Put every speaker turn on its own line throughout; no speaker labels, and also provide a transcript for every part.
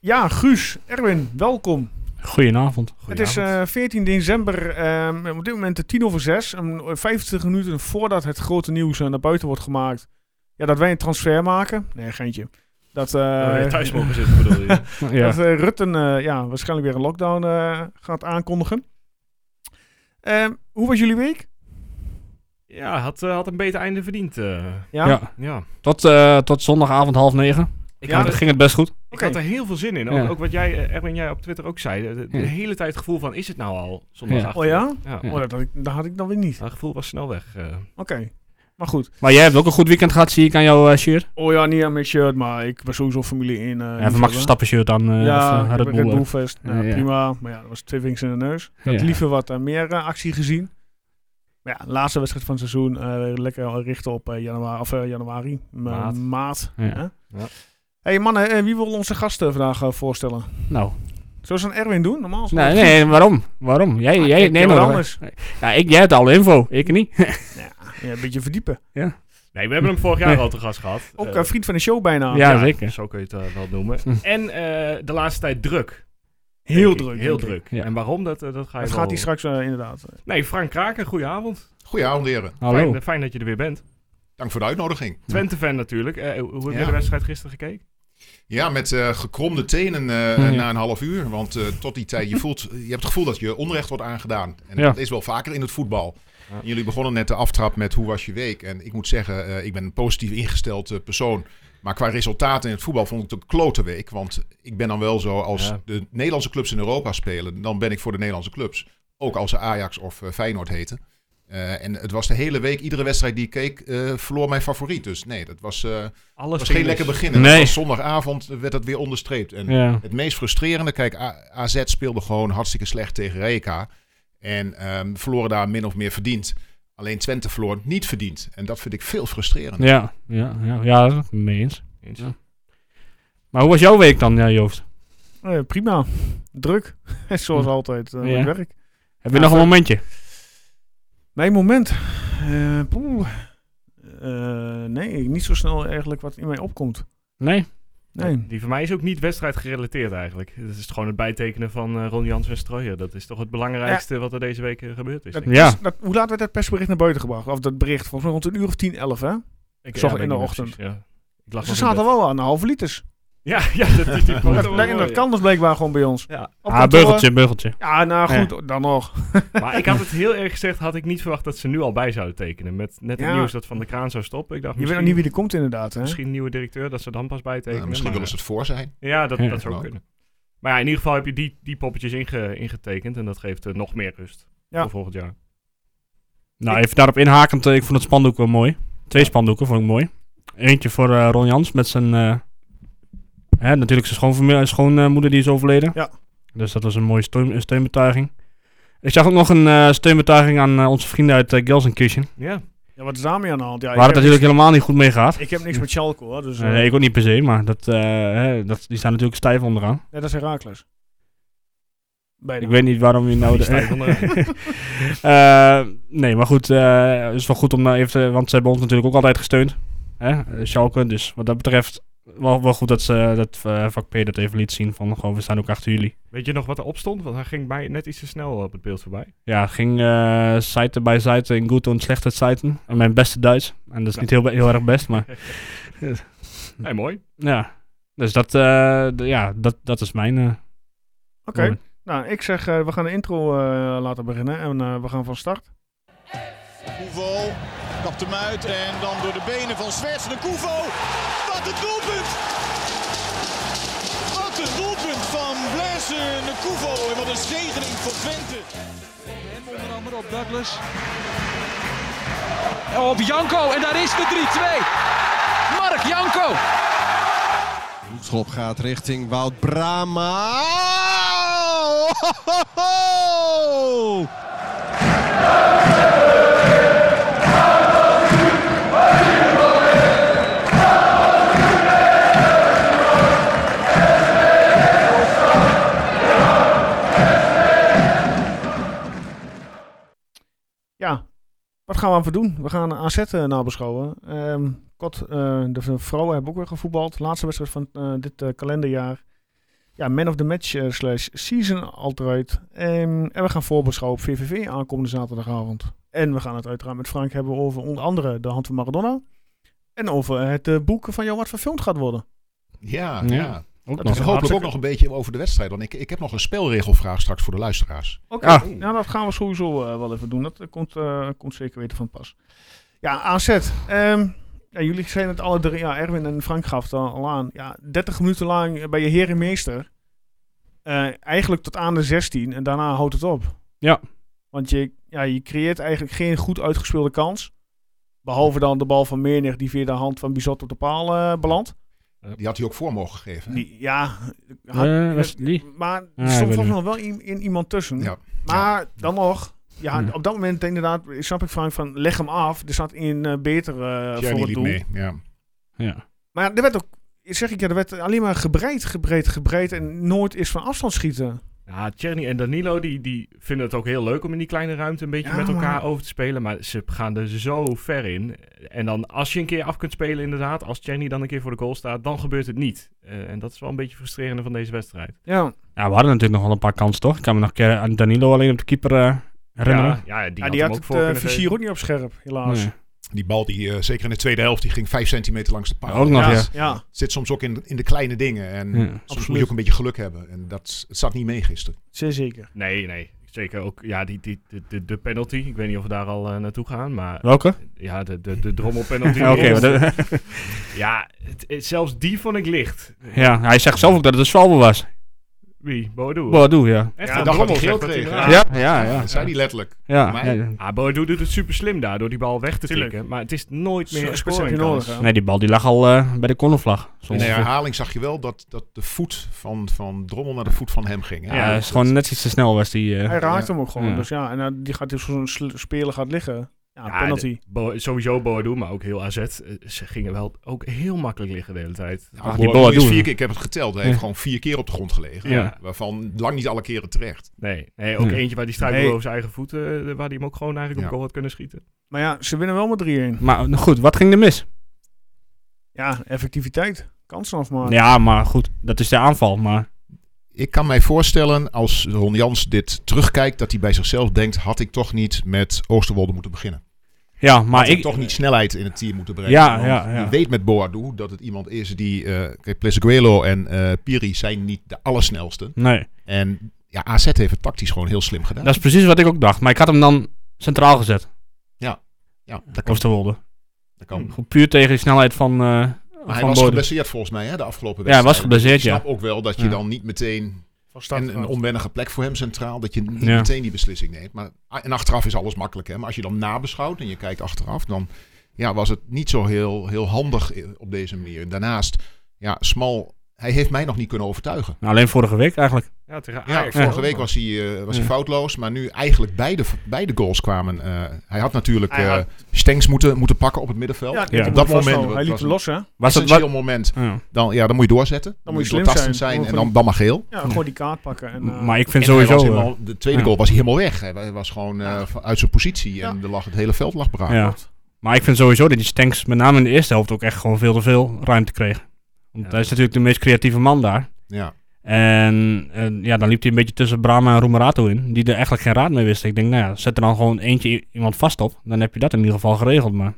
Ja, Guus, Erwin, welkom.
Goedenavond.
Het is eh, 14 december, ehm, op dit moment de 10 over 6. En 50 minuten voordat het grote nieuws eh, naar buiten wordt gemaakt. Ja, dat wij een transfer maken. Nee, geintje. Dat, eh,
Oh,
Waar je thuis mogen zitten, bedoel je?
ja.
dat eh, Rutten eh, ja, waarschijnlijk weer een lockdown eh, gaat aankondigen. Ehm, hoe was jullie week?
Ja, had, eh, had een beter einde verdiend. eh.
Ja,
Ja.
ja.
Tot, eh, tot zondagavond half negen.
Ik,
Ja, dus-
had,
Dan
dat-
ging het best goed.
ik
oké.
had er heel veel zin in. Ook,
Ja.
ook wat jij, eh, Erwin, jij op Twitter ook zei. De, de- de
Ja.
hele tijd het gevoel van, is het nou al zondag
Oh ja?
Ja.
Ja.
Oh, dat, had ik, dat had ik dan weer niet.
Dat gevoel was snel weg. eh.
Oké. Maar goed.
Maar jij hebt ook een goed weekend gehad, zie ik aan jouw eh, shirt.
Oh ja, niet aan mijn shirt, maar ik was sowieso familie in. eh,
Even Max Verstappen shirt aan. eh
ja,
of, eh,
ik heb
Red
een
Bull,
Red
eh.
Bull Fest. Nou,
Ja, ja.
Prima, maar ja, dat was twee vingers in de neus. Ik had
Ja.
liever wat eh, meer eh, actie gezien. Maar ja, laatste wedstrijd van het seizoen. eh, lekker richten op eh, januari. Of, eh, januari m-
Maart.
maart.
Ja.
hè?
Ja.
hey, mannen, eh, wie wil onze gasten vandaag eh, voorstellen?
Nou,
Zullen ze een Erwin doen? Normaal is het
nee,
wel-
nee, waarom? Waarom? Jij,
Ah,
jij,
ik
nee,
heb
maar
wat
nog-
anders.
Ja, ik, jij hebt alle info, ik niet.
Ja, een beetje verdiepen.
Nee, we hebben hem vorig jaar al te gast gehad.
Ook
Eh,
eh, vriend van de show bijna.
Ja, zeker.
Zo kun je het eh, wel noemen.
Hm.
En eh, de laatste tijd druk.
heel
denk ik.
druk.
Heel
denk ik.
druk.
Ja.
En waarom, dat, eh, dat ga je
Dat
wel-
gaat hij straks eh, inderdaad.
Nee, Frank Kraken, goedenavond.
Goedenavond, heren.
Hallo.
eh,
Fijn, fijn dat je er weer bent.
Dank voor de uitnodiging.
Twente-fan natuurlijk. Eh, hoe heb je
Ja.
de wedstrijd gisteren gekeken?
Ja, met eh, gekromde tenen eh,
Ja.
na een half uur. Want eh, tot die tijd, je, voelt, je hebt het gevoel dat je onrecht wordt aangedaan. En
Ja.
dat is wel vaker in het voetbal.
Ja.
Jullie begonnen net de aftrap met hoe was je week? En ik moet zeggen, eh, ik ben een positief ingesteld eh, persoon. Maar qua resultaten in het voetbal vond ik het een klote week. Want ik ben dan wel zo, als
Ja.
de Nederlandse clubs in Europa spelen, dan ben ik voor de Nederlandse clubs. Ook als ze Ajax of eh, Feyenoord heten. Eh, en het was de hele week, iedere wedstrijd die ik keek, eh, verloor mijn favoriet. Dus nee, dat was... eh,
Alles
Het was geen
ging
lekker
mis.
beginnen.
Nee.
Het was Zondagavond werd dat weer onderstreept. En
Ja.
het meest frustrerende, kijk, A- AZ speelde gewoon hartstikke slecht tegen Rijeka. En ehm, verloren daar min of meer verdiend. Alleen Twente verloor niet verdiend. En dat vind ik veel frustrerender.
Ja, ja, ja, ja, dat ben ik mee eens.
Eens.
Ja. Maar hoe was jouw week dan, ja, Joost?
Eh, prima. Druk. Zoals altijd. eh,
Ja.
met werk.
Heb je nog een momentje?
Mijn moment. Eh, poeh. Eh, nee, niet zo snel eigenlijk wat in mij opkomt.
Nee?
Nee.
Die voor mij is ook niet wedstrijd gerelateerd eigenlijk. Het is gewoon het bijtekenen van eh Ron Jans en Strooijer. Dat is toch het belangrijkste wat er deze week eh, gebeurd is.
Dat
denk
Ja.
is- dat, hoe laat werd dat persbericht naar buiten gebracht? Of dat bericht? Volgens mij rond een uur of tien, elf, hè?
ik.
zag
weet
in de
niet meer
ochtend.
precies, ja. Ik lag
Ze
nog in
zaten
bed.
wel aan de halve liters.
Ja, ja, dat is die
Dat,
quote.
dat, dat kan dus blijkbaar gewoon bij ons.
Ja.
Op
ah,
kantoor.
beugeltje, beugeltje.
Ja, nou goed, dan nog.
Maar ik had het heel erg gezegd, had ik niet verwacht dat ze nu al bij zouden tekenen. Met net het
Ja.
nieuws dat Van de Kraan zou stoppen. Ik dacht,
Je weet nog
misschien,
niet wie er komt inderdaad, hè?
misschien een nieuwe directeur, dat ze dan pas bijtekenen.
Nou, misschien
maar-
willen ze het voor zijn.
Ja, dat,
Ja.
dat zou
Nou.
kunnen. Maar ja, in ieder geval heb je die, die poppetjes inge- ingetekend. En dat geeft eh, nog meer rust
Ja.
voor volgend jaar.
Nou, even daarop inhakend, eh, ik vond het spandoek wel mooi. Twee spandoeken vond ik mooi. Eentje voor eh, Ron Jans met zijn. eh, hè, natuurlijk zijn schoonmoeder schoon, eh, moeder die is overleden.
Ja.
Dus dat was een mooie steun, eh, steunbetuiging. Ik zag ook nog een eh, steunbetuiging aan eh, onze vrienden uit uh, Gelsenkirchen.
Ja,
Ja, wat is daarmee aan de hand? Ja, ik
waar het
heb
natuurlijk helemaal niet goed mee gaat.
niks- Ik heb niks met Schalke, hoor. Dus, eh,
Eh, ik ook niet per se, maar dat, eh, hè, dat, die staan natuurlijk stijf onderaan.
nee, dat is Herakles. Beide.
Ik weet niet waarom je nou...
die
de-
stijf onderaan.
Eh, nee, maar goed, eh, het is wel goed om daar even... te- want ze hebben ons natuurlijk ook altijd gesteund. Hè? eh, Schalke, dus wat dat betreft... Wel, wel goed dat, ze, dat eh, vak P dat even liet zien van gewoon, we staan ook achter jullie.
Weet je nog wat erop stond? Want hij ging mij net iets te snel eh, op het beeld voorbij.
Ja, het ging eh site bij site in goed en slechte siten. En mijn beste Duits. En dat is niet heel, be- heel erg best, maar
Nee, mooi.
ja. Dus dat, eh, d- ja, dat, dat is mijn... eh,
Oké,
moment.
nou, ik zeg, eh, we gaan de intro eh, laten beginnen en eh, we gaan van start.
Koevo kapt hem uit en dan door de benen van Zwerts de Koevo. Wat een doelpunt! Wat een doelpunt van Blaise de Koevo en wat een zegening voor Twente.
Hem onder andere op Douglas. Op Janko en daar is de 3-2. Mark Janko.
Hoekschop gaat richting Wout Brama.
Ja, wat gaan we aan doen? We gaan AZ eh, nabeschouwen. Ehm Kot, eh, de v- vrouwen hebben ook weer gevoetbald. Laatste wedstrijd van eh, dit eh, kalenderjaar. ja, man of the match eh, slash season altijd. Ehm, en we gaan voorbeschouwen op VVV aankomende zaterdagavond. En we gaan het uiteraard met Frank hebben over onder andere de hand van Maradona. En over het eh, boek van jou wat verfilmd gaat worden.
Ja,
Ja.
ja.
Dat
Ook nog.
En
is-
hopelijk
hartstikke-
ook nog een beetje over de wedstrijd. Want ik, ik heb nog een spelregelvraag straks voor de luisteraars.
Oké,
Ah.
nou dat gaan we sowieso eh, wel even doen. Dat eh, komt, eh, komt zeker weten van pas. Ja, AZ. ehm, ja, jullie zijn het alle drie. Ja, Erwin en Frank gaf het al al aan. Ja, 30 minuten lang bij je heer en meester. Eh, eigenlijk tot aan de 16 en daarna houdt het op.
Ja.
Want je, ja, je creëert eigenlijk geen goed uitgespeelde kans. Behalve dan de bal van Meernig die via de hand van Bizot op de paal eh, belandt.
Die had hij ook voor mogen geven. hè?
Die, ja, had-
Eh, was het die?
maar er
Ja, ik
stond
weet
volgens
het
nog wel i- in iemand tussen.
Ja.
Maar dan nog, ja,
Hm.
op dat moment inderdaad, snap ik Frank van, leg hem af. Er zat in eh beter eh,
Tjerni
voor het
liep
doel.
mee. Ja.
Ja.
Maar er werd ook, zeg ik ja, er werd alleen maar gebreid, gebreid, gebreid en nooit is van afstand schieten.
Ja, Tjerni en Danilo die, die vinden het ook heel leuk om in die kleine ruimte een beetje
Ja,
met elkaar
maar-
over te spelen. Maar ze gaan er zo ver in. En dan als je een keer af kunt spelen inderdaad, als Tjerni dan een keer voor de goal staat, dan gebeurt het niet. Eh, en dat is wel een beetje frustrerende van deze wedstrijd.
Ja,
ja, we hadden natuurlijk nog wel een paar kansen, toch? Ik kan me nog een keer aan Danilo alleen op de keeper eh, herinneren.
Ja, ja, die
ja,
had,
die had
hem ook
het
voor
eh,
kunnen
vizier
geven.
ook niet op scherp, helaas.
Nee.
Die bal, die, eh, zeker in de tweede helft, die ging vijf centimeter langs de paal.
Ook nog,
Ja, ja.
ja.
Zit soms ook in, in de kleine dingen. En
Ja.
soms moet
Absoluut.
je ook een beetje geluk hebben. En dat het zat niet mee gisteren.
zeer zeker.
Nee, nee. Zeker ook, ja, die, die, de- de, de penalty. Ik weet niet of we daar al eh, naartoe gaan, maar
Welke?
ja, de, de, de drommelpenalty.
Ja, Oké, maar dat-
Ja, het, het- zelfs die vond ik licht.
ja, hij zegt zelf ook dat het een zwalbe was.
Wie? Boadu.
Boadu, ja.
Echt,
Ja,
een
ik dacht dat
drommel
hij geel
zegt dat
kreeg,
hij-
ja.
Ja, ja, ja.
Dat zei hij letterlijk.
Ja,
Maar-
ja.
Ah, Boadu doet het super slim daar door die bal weg te
Tuurlijk.
tikken. Maar het is nooit meer een
Zo'n spits heb je
scoring.
nodig. hè?
Nee, die bal die lag al eh, bij de cornervlag.
In
Soms-
de herhaling zag je wel dat, dat de voet van, van Drommel naar de voet van hem ging.
Ja,
hè?
het
Dat-
is gewoon net iets te snel was die. eh.
Hij raakt
Ja.
hem ook gewoon.
Ja.
Dus ja, en eh, die gaat dus zo'n sl- speler gaat liggen. Ja,
Ja,
penalty.
Bo- sowieso Boadu, maar ook heel AZ. eh, Ze gingen wel ook heel makkelijk liggen de hele tijd.
Ja,
Ah, die
Boadu
Boadu,
is vier
hè?
keer- ik heb het geteld. Hij
Ja.
heeft gewoon vier keer op de grond gelegen.
Ja.
Waarvan lang niet alle keren terecht.
Nee, nee ook
Ja.
eentje waar die struikelde
Nee.
over zijn eigen voeten. eh, Waar hij hem ook gewoon eigenlijk op
Hm. Ja.
goal had kunnen schieten.
Maar ja, ze winnen wel met 3-1.
Maar nou goed, wat ging er mis?
Ja, effectiviteit. Kansen afmaken.
Ja, maar goed, dat is de aanval. Maar
Ik kan mij voorstellen, als Ron Jans dit terugkijkt, dat hij bij zichzelf denkt: had ik toch niet met Oosterwolde moeten beginnen?
ja, maar
had ik,
ik.
toch niet snelheid in het team moeten brengen?
Ja,
Want
ja, ja.
Je weet met Boadu dat het iemand is die. eh kijk, Plezeguelo en eh, Piri zijn niet de allersnelste.
Nee,
En ja, AZ heeft het tactisch gewoon heel slim gedaan.
dat is precies wat ik ook dacht. Maar ik had hem dan centraal gezet,
ja, dat kan.
Oosterwolde.
Dat kan.
Goed, Puur tegen de snelheid van. eh
Maar hij
van
was
Boadu.
geblesseerd volgens mij hè, de afgelopen
Ja, hij
wedstrijd.
was geblesseerd,
Ik
ja.
snap ook wel dat je
Ja.
dan niet meteen
Van start
en een
gaat.
onwennige plek voor hem centraal. Dat je niet
Ja.
meteen die beslissing neemt. Maar, en achteraf is alles makkelijk. Hè? Maar als je dan nabeschouwt en je kijkt achteraf, dan ja, was het niet zo heel, heel handig eh, op deze manier. En daarnaast, ja, Smal, hij heeft mij nog niet kunnen overtuigen.
Nou, alleen vorige week eigenlijk.
Ja, tegen
Ja,
Ajax.
vorige week was hij, eh, was hij
Ja.
foutloos. Maar nu eigenlijk beide, beide goals kwamen. eh, hij had natuurlijk
Hij
eh,
had-
Stengs moeten, moeten pakken op het middenveld.
Ja,
Ja.
op
Dat
dat moment.
moment,
Hij
dat
liet
was
hem los, hè?
Was dat
Essentieel
wat?
moment.
Ja.
Dan, ja, dan moet je doorzetten. Dan,
moet je slim
doortastend
zijn.
zijn.
Dan
en
moet je-
dan, dan maar geel.
Ja, gewoon die kaart pakken. En, eh,
Maar ik vind
En hij was
sowieso. eh,
helemaal- de tweede
ja.
goal was hij helemaal weg. Hij wa- was gewoon eh, van- uit zijn positie. En er lag, het hele veld lag braak.
ja. Maar ik vind sowieso dat die Stanks met name in de eerste helft ook echt gewoon veel te veel ruimte kreeg. Want
Ja.
hij is natuurlijk de meest creatieve man daar.
Ja.
En, en ja, dan liep hij een beetje tussen Brahma en Romerato in, die er eigenlijk geen raad mee wisten. Ik denk, nou ja, zet er dan gewoon eentje i- iemand vast op. Dan heb je dat in ieder geval geregeld. Maar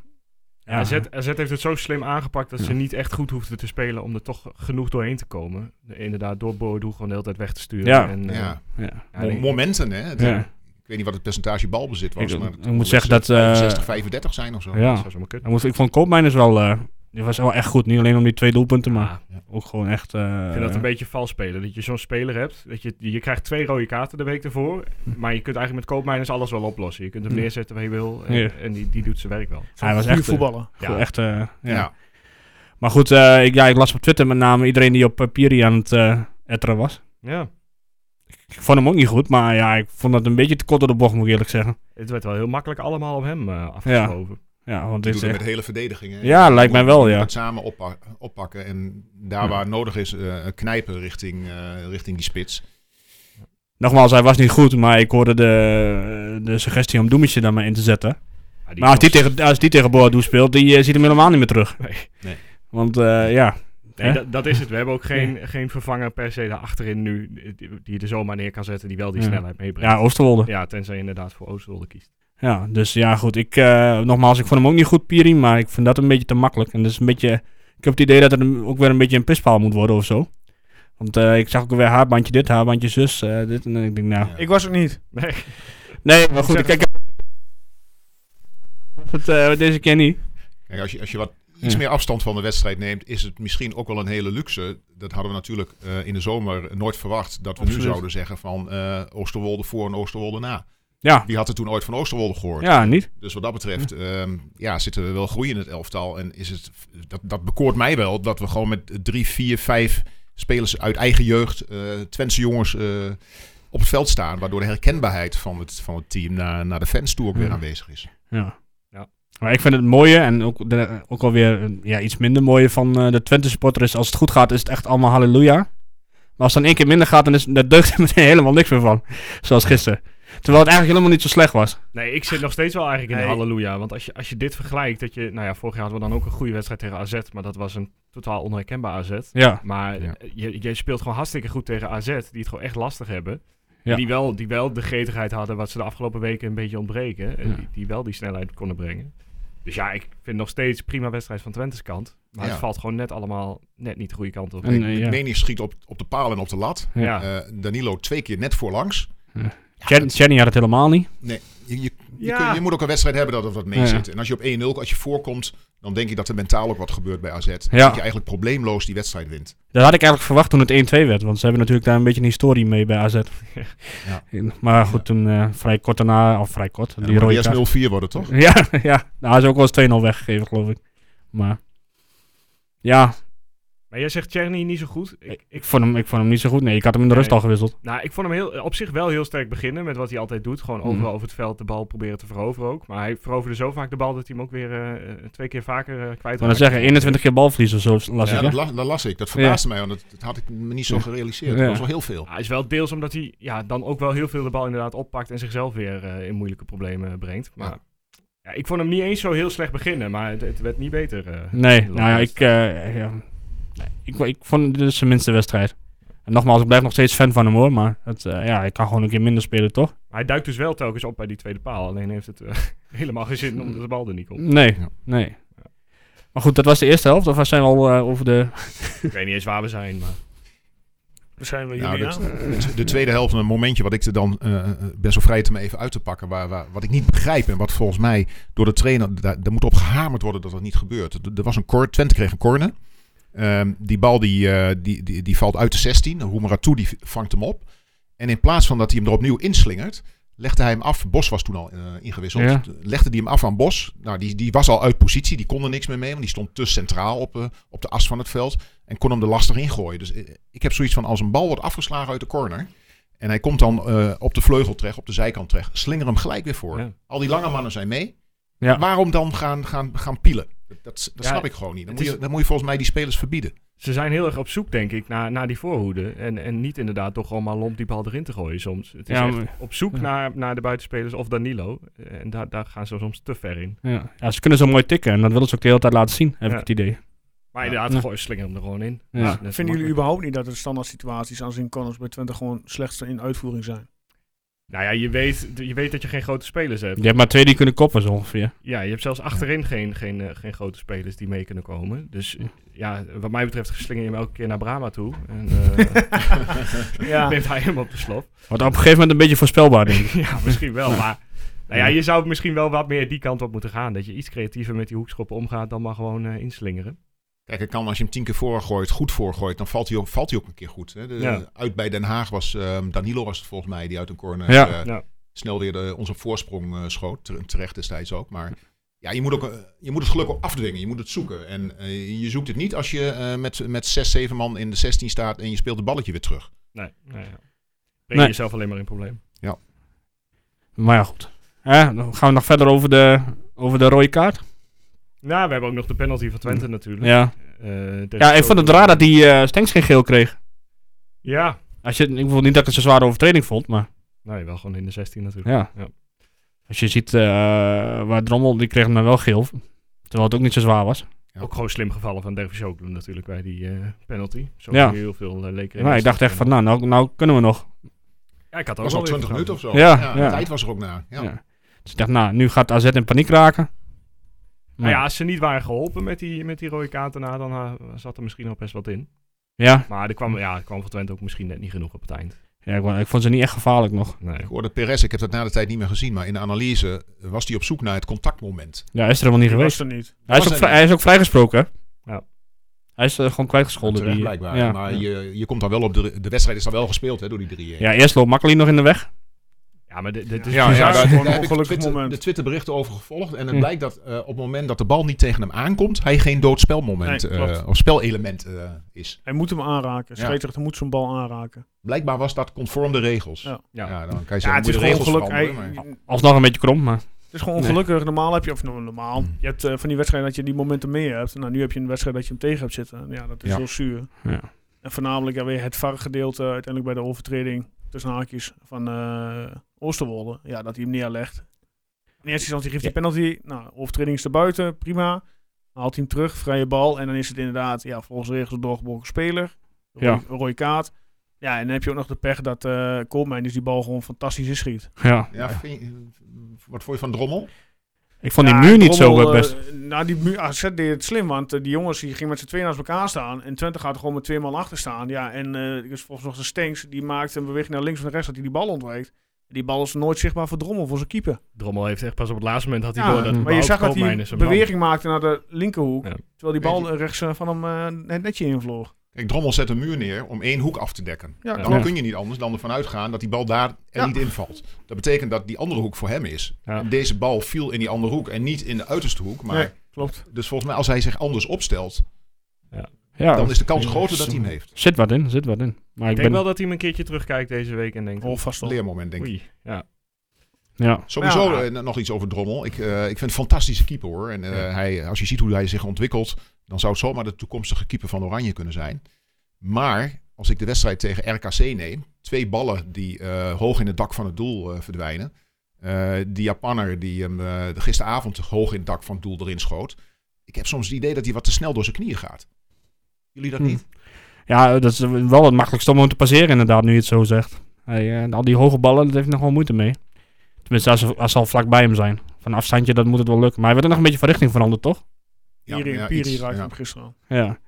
ja,
AZ, AZ heeft het zo slim aangepakt dat ze niet echt goed hoefden te spelen om er toch genoeg doorheen te komen. Inderdaad, door Boadu gewoon de hele tijd weg te sturen.
Ja.
en, eh,
Ja.
ja.
ja, nee.
Momenten, hè. Het-
Ja.
Ik weet niet wat het percentage balbezit was.
Ik-
maar
ik moet zeggen dat, eh,
60, 35 zijn of zo.
Ja.
Dat zou zomaar kunnen.
Hij moest- ik vond Koopmeiners wel, eh, die was wel echt goed. Niet alleen om die twee doelpunten, maar
Ja.
ook gewoon echt... eh,
Ik vind dat een beetje vals spelen. Dat je zo'n speler hebt. Dat je, je krijgt twee rode kaarten de week ervoor. Maar je kunt eigenlijk met koopmijners alles wel oplossen. Je kunt hem
Hm. Ja.
neerzetten waar je wil. En,
Ja.
en die, die doet zijn werk wel.
Hij was
Goeie
echt... eh,
voetballen.
gewoon
Ja.
echt eh, ja.
Ja.
Maar goed, eh, ik, ja, ik las op Twitter met name iedereen die op eh, Piri aan het eh, etteren was.
Ja.
Ik vond hem ook niet goed, maar ja, ik vond dat een beetje te kort door de bocht, moet ik eerlijk zeggen.
Het werd wel heel makkelijk allemaal op hem eh afgeschoven.
Ja, want
Die
dit is
doet het met
echt...
de hele verdediging. hè.
Ja,
Je
lijkt mij
moet-
wel,
je moet
ja.
het samen oppa- oppakken. En daar
Ja.
waar nodig is, eh, knijpen richting, eh, richting die spits.
Nogmaals, hij was niet goed, maar ik hoorde de, de suggestie om Doemetje dan maar in te zetten.
Ja,
maar als die,
kans-
tegen, als die tegen Boadu speelt, die eh, ziet hem helemaal niet meer terug.
Nee.
Nee.
Want eh, ja,
Nee,
Hè?
dat, dat is het. We hebben ook geen, geen vervanger per se daarachterin nu, die, die je er zomaar neer kan zetten, die wel die
Ja.
snelheid meebrengt.
Ja, Oosterwolde.
Ja, tenzij je inderdaad voor Oosterwolde kiest.
Ja, dus ja, goed. Ik, eh, nogmaals, ik vond hem ook niet goed, Piri, maar ik vind dat een beetje te makkelijk. En dat is een beetje, ik heb het idee dat het een- ook weer een beetje een pispaal moet worden of zo. Want eh, ik zag ook weer haarbandje dit, haarbandje zus, eh, dit. En ik denk, nou...
Ja.
Ik was het niet.
Nee.
Nee, maar goed, ik
zeg
kijk... Het, eh, deze keer niet.
Kijk, als, je, als je wat iets
Ja.
meer afstand van de wedstrijd neemt, is het misschien ook wel een hele luxe. Dat hadden we natuurlijk eh, in de zomer nooit verwacht. Dat we nu
Absoluut.
zouden zeggen van eh, Oosterwolde voor en Oosterwolde na.
Ja,
Wie had het toen ooit van Oosterwolde gehoord?
ja, niet.
Dus wat dat betreft ehm, ja, zitten we wel groeien in het elftal. En is het, dat, dat bekoort mij wel dat we gewoon met drie, vier, vijf spelers uit eigen jeugd, eh Twentse jongens, eh, op het veld staan. Waardoor de herkenbaarheid van het, van het team naar, naar de fans toe ook weer
Ja.
aanwezig is.
Ja.
Ja.
Maar ik vind het mooie en ook, de, ook alweer eh, ja, iets minder mooie van eh, de Twente supporter is als het goed gaat is het echt allemaal halleluja. Maar als het dan één keer minder gaat dan is daar deugt er meteen helemaal niks meer van. Zoals gisteren. Terwijl het eigenlijk helemaal niet zo slecht was.
Nee, ik zit nog steeds wel eigenlijk in de
Nee.
halleluja. Want als je, als je dit vergelijkt, dat je... Nou ja, vorig jaar hadden we dan ook een goede wedstrijd tegen AZ. Maar dat was een totaal onherkenbaar AZ.
Ja,
Maar
Ja.
eh, je, je speelt gewoon hartstikke goed tegen AZ, die het gewoon echt lastig hebben.
Ja.
Die, wel, die wel de gretigheid hadden wat ze de afgelopen weken een beetje ontbreken. eh,
Ja.
Die, die wel die snelheid konden brengen. Dus ja, ik vind nog steeds prima wedstrijd van Twente's kant. Maar
Ja.
het valt gewoon net allemaal net niet de goede kant op.
En,
En,
eh, ja.
schiet op, op de paal en op de lat.
ja.
Ah.
Eh, Danilo twee keer net voorlangs.
Chen- Chenny had het helemaal niet.
Nee, je, je, je
Ja.
kun- je moet ook een wedstrijd hebben dat er wat mee
Ja.
zit. En als je op 1-0, als je voorkomt, dan denk ik dat er mentaal ook wat gebeurt bij AZ. Dat je
Ja.
eigenlijk probleemloos die wedstrijd wint.
Dat had ik eigenlijk verwacht toen het 1-2 werd. Want ze hebben natuurlijk daar een beetje een historie mee bij AZ.
Ja.
In- Maar goed, toen eh, vrij kort daarna, of vrij kort,
En
die
dan moet
rode
het
kaart.
eerst 0-4 worden, toch?
Ja, ja. Nou, hij is ook wel eens 2-0 weggegeven, geloof ik. Maar ja,
Maar jij zegt Cherny niet zo goed. Ik, ik,
ik vond, hem, ik vond hem niet zo goed. Nee, ik had hem in de rust
Nee.
al gewisseld.
nou, ik vond hem heel, op zich wel heel sterk beginnen met wat hij altijd doet. Gewoon overal
Mhm.
over het veld de bal proberen te veroveren ook. Maar hij veroverde zo vaak de bal dat hij hem ook weer eh, eh, twee keer vaker eh kwijt
Ik wou dan zeggen, 21 keer balverlies of zo, las
Ja,
ik, hè?
dat, la- dat las ik. Dat verbaasde mij, want dat, dat had ik me niet zo
Ja.
gerealiseerd.
Ja.
Dat was wel heel veel.
Ja, is wel deels omdat hij ja, dan ook wel heel veel de bal inderdaad oppakt en zichzelf weer eh, in moeilijke problemen brengt. Maar ja.
Ja.
ik vond hem niet eens zo heel slecht beginnen, maar het, het werd niet beter. eh.
Nee,
Dat
nou ja,
is-
ik, eh, ja. Nee, ik, ik vond dit is zijn minste wedstrijd. En nogmaals, ik blijf nog steeds fan van hem hoor, maar het, eh, ja, ik kan gewoon een keer minder spelen, toch?
Maar hij duikt dus wel telkens op bij die tweede paal. Alleen heeft het eh, helemaal geen zin omdat de bal er niet komt.
Nee,
Ja.
nee. Maar goed, dat was de eerste helft, of zijn we al eh, over de...
ik weet niet eens waar we zijn, maar
We zijn we
Nou,
jullie
dat-
aan.
De- De tweede helft, een momentje wat ik er dan eh, eh, ben zo vrij te me even uit te pakken. Waar, waar, wat ik niet begrijp en wat volgens mij door de trainer. Daar, daar moet op gehamerd worden dat dat niet gebeurt. Er- Er was een cor Twente kreeg een corner. Ehm, die bal die, eh, die, die, die valt uit de 16. Hoemeratu die vangt hem op. En in plaats van dat hij hem er opnieuw inslingert. Legde hij hem af. Bos was toen al eh, ingewisseld.
Ja.
Legde hij hem af aan Bos. Nou, die, die was al uit positie. Die kon er niks meer mee. Want die stond te centraal op, eh, op de as van het veld. En kon hem er lastig ingooien. Dus eh, ik heb zoiets van als een bal wordt afgeslagen uit de corner. En hij komt dan eh, op de vleugel terecht, op de zijkant terecht. Slinger hem gelijk weer voor.
Ja.
Al die lange mannen zijn mee.
Ja.
Waarom dan gaan, gaan, gaan pielen? Dat, dat, dat
Ja,
snap ik gewoon niet. Dan
het
moet,
is-
je, dan moet je volgens mij die spelers verbieden.
ze zijn heel erg op zoek, denk ik, naar, naar die voorhoede. En, en niet inderdaad toch gewoon maar lomp die bal erin te gooien soms. Het is
Ja,
echt
maar-
op zoek
ja.
naar, naar de buitenspelers of Danilo. eh, En daar, daar gaan ze soms te ver in.
Ja. ja, ze kunnen zo mooi tikken en dat willen ze ook de hele tijd laten zien, heb
Ja.
ik het idee.
Maar
Ja.
inderdaad,
Ja.
gooi slinger hem er gewoon in.
Ja.
Dat is
Ja,
net zo
Vinden jullie
makkelijk.
überhaupt niet dat er standaard situaties als in corners bij Twente gewoon slechtste in uitvoering zijn?
Nou ja, je weet, je weet dat je geen grote spelers hebt.
Je hebt maar twee die kunnen koppen zo ongeveer.
Ja, je hebt zelfs achterin geen, geen, eh, geen grote spelers die mee kunnen komen. Dus eh, ja, wat mij betreft slinger je hem elke keer naar Brama toe. En eh,
Ja.
neemt hij hem op de slot.
Wat op een gegeven moment een beetje voorspelbaar denk ik.
ja, misschien wel. Maar nou ja, je zou misschien wel wat meer die kant op moeten gaan. Dat je iets creatiever met die hoekschoppen omgaat dan maar gewoon eh, inslingeren.
Kijk, het kan als je hem tien keer voorgooit, goed voorgooit, dan valt hij ook, valt hij ook een keer goed. Hè? De-
Ja.
Uit bij Den Haag was ehm, Danilo was het volgens mij die uit een corner
Ja.
eh,
Ja.
snel weer de, onze voorsprong eh, schoot. Tere- Terecht destijds ook. Maar ja, je moet, ook, eh, je moet het geluk ook afdwingen. Je moet het zoeken. En eh, je zoekt het niet als je eh, met, met zes, zeven man in de 16 staat en je speelt het balletje weer terug.
Nee, nou ja. Breng
Nee.
jezelf alleen maar in probleem.
Maar ja, goed. Eh, dan gaan we nog verder over de, over de rode kaart.
Nou, we hebben ook nog de penalty van Twente natuurlijk.
Ja,
Eh, tegen
ja ik vond het
Groningen.
raar dat die eh Stenks geen geel kreeg.
Ja,
Als je, ik wil niet dat ik het een zware overtreding vond, maar
nee, wel gewoon in de 16 natuurlijk.
ja. Als je ziet eh, waar Drommel, die kreeg hem dan wel geel. Terwijl het ook niet zo zwaar was.
Ja.
Ook gewoon slim gevallen van Dervis Oakland natuurlijk bij die eh, penalty. Zo
Ja.
heel veel eh, leken.
Maar ik dacht echt van, nou, nou, nou kunnen we nog.
Ja, ik had
Dat
ook
was
wel
al
weer
20 minuten of zo.
Ja,
de
ja.
tijd was er ook naar. Ja.
Ja. Dus ik dacht, nou, nu gaat AZ in paniek raken.
Nou ja, als ze niet waren geholpen met die, met die rode kaart daarna, dan eh, zat er misschien nog best wat in.
Ja,
Maar er kwam, ja, er kwam van Twente ook misschien net niet genoeg op het eind.
ja ik, wou- ik vond ze niet echt gevaarlijk nog.
Nee.
Ik hoorde Perez, ik heb dat na de tijd niet meer gezien, maar in de analyse was hij op zoek naar het contactmoment.
Ja, hij is er helemaal niet
Die
geweest.
was er niet.
Hij is,
Was
ook
hij
vrij- hij is ook vrijgesproken. hè?
Ja.
Hij is eh, gewoon kwijtgescholden.
Terecht
die-
blijkbaar.
Ja.
Maar je, je komt dan wel op de... De wedstrijd is dan wel gespeeld hè, door die drieën.
ja, eerst loopt Makkeli nog in de weg.
Ja, maar dit, dit is
Ja,
bizar.
daar-
ja, daar,
gewoon
daar
een
heb ik
ongelukkig
Twitter-
moment.
de Twitterberichten over gevolgd. En het
Hm.
blijkt dat eh, op het moment dat de bal niet tegen hem aankomt, hij geen doodspelmoment
Nee,
spelmoment
klopt.
of spelelement eh, is.
Hij moet hem aanraken.
Ja.
Scheidsrechter moet zo'n bal aanraken.
Blijkbaar was dat conform de regels.
Ja.
Ja,
Ja.
dan kan je
Ja,
zeggen,
het is
moet
gewoon
je de regels
ongeluk.
veranderen.
hij-
maar-
Alsnog een beetje krom, maar...
Het is gewoon
Nee.
ongelukkig. Normaal heb je, of nou, normaal, je hebt eh, van die wedstrijd dat je die momenten mee hebt. Nou, nu heb je een wedstrijd dat je hem tegen hebt zitten. En Ja, dat is
Ja.
heel zuur.
Ja.
En voornamelijk ja, weer het VAR-gedeelte uiteindelijk bij de overtreding tussen haakjes van eh, Oosterwolde. Ja, dat hij hem neerlegt. In eerste instantie geeft hij penalty. Nou, overtreding is er buiten, prima. Haalt hij hem terug, vrije bal. En dan is het inderdaad, ja, volgens de regels een doorgebroken speler. Roy,
Ja.
Rode kaart. Ja, en dan heb je ook nog de pech dat eh Koolmijn dus die bal gewoon fantastisch inschiet.
Ja.
Ja, vind je- wat vond je van Drommel?
Ik vond die
Ja,
muur niet zo
Drommel,
eh, best.
eh, nou, die muur, AZ deed het slim, want eh, die jongens die gingen met z'n tweeën naast elkaar staan. En Twente gaat er gewoon met twee man achter staan. Ja, en eh dus volgens nog de Stenks, die maakt een beweging naar links en naar rechts dat hij die bal ontwijkt. Die bal is nooit zichtbaar voor Drommel, voor zijn keeper.
Drommel heeft echt pas op het laatste moment had hij
Ja,
door
maar
dat
je
überhaupt
zag dat
Koopmijn
hij
is een man.
beweging maakte naar de linkerhoek.
Ja.
Terwijl die bal
Weet
eh, rechts eh, van hem eh, het netje invloog.
Kijk, Drommel zet een muur neer om één hoek af te dekken.
Ja,
Ja.
Dan
klopt.
kun je niet anders dan ervan uitgaan dat die bal daar er
Ja.
niet invalt. Dat betekent dat die andere hoek voor hem is.
Ja.
En deze bal viel in die andere hoek en niet in de uiterste hoek. Maar
Nee, klopt.
Dus volgens mij, als hij zich anders opstelt,
Ja,
dan is de kans groter dat hij hem heeft.
Zit wat in, zit wat in. Maar
Ik
ik,
denk
ben...
wel dat hij hem een keertje terugkijkt deze week en denkt,
Oh, vast wel.
Leermoment, denk ik.
oei, ja.
Ja.
Sowieso
Ja.
eh, nog iets over Drommel. Ik, eh, ik vind het een fantastische keeper hoor. En eh, hij, als je ziet hoe hij zich ontwikkelt, dan zou het zomaar de toekomstige keeper van Oranje kunnen zijn. Maar als ik de wedstrijd tegen RKC neem, twee ballen die eh, hoog in het dak van het doel eh, verdwijnen. Eh, die Japanner die hem eh, gisteravond hoog in het dak van het doel erin schoot. Ik heb soms het idee dat hij wat te snel door zijn knieën gaat. Jullie dat
Hm.
niet?
ja, dat is wel het makkelijkste om hem te passeren inderdaad, nu je het zo zegt. Hij, eh, al die hoge ballen, dat heeft hij nog wel moeite mee. Tenminste, als ze, als ze al vlak bij hem zijn. Van een afstandje, dat moet het wel lukken. Maar hij werd ook nog een beetje van richting veranderd, toch?
Piri,
ja,
Piri
iets,
raakte
ja.
hem gisteren al.
Ja.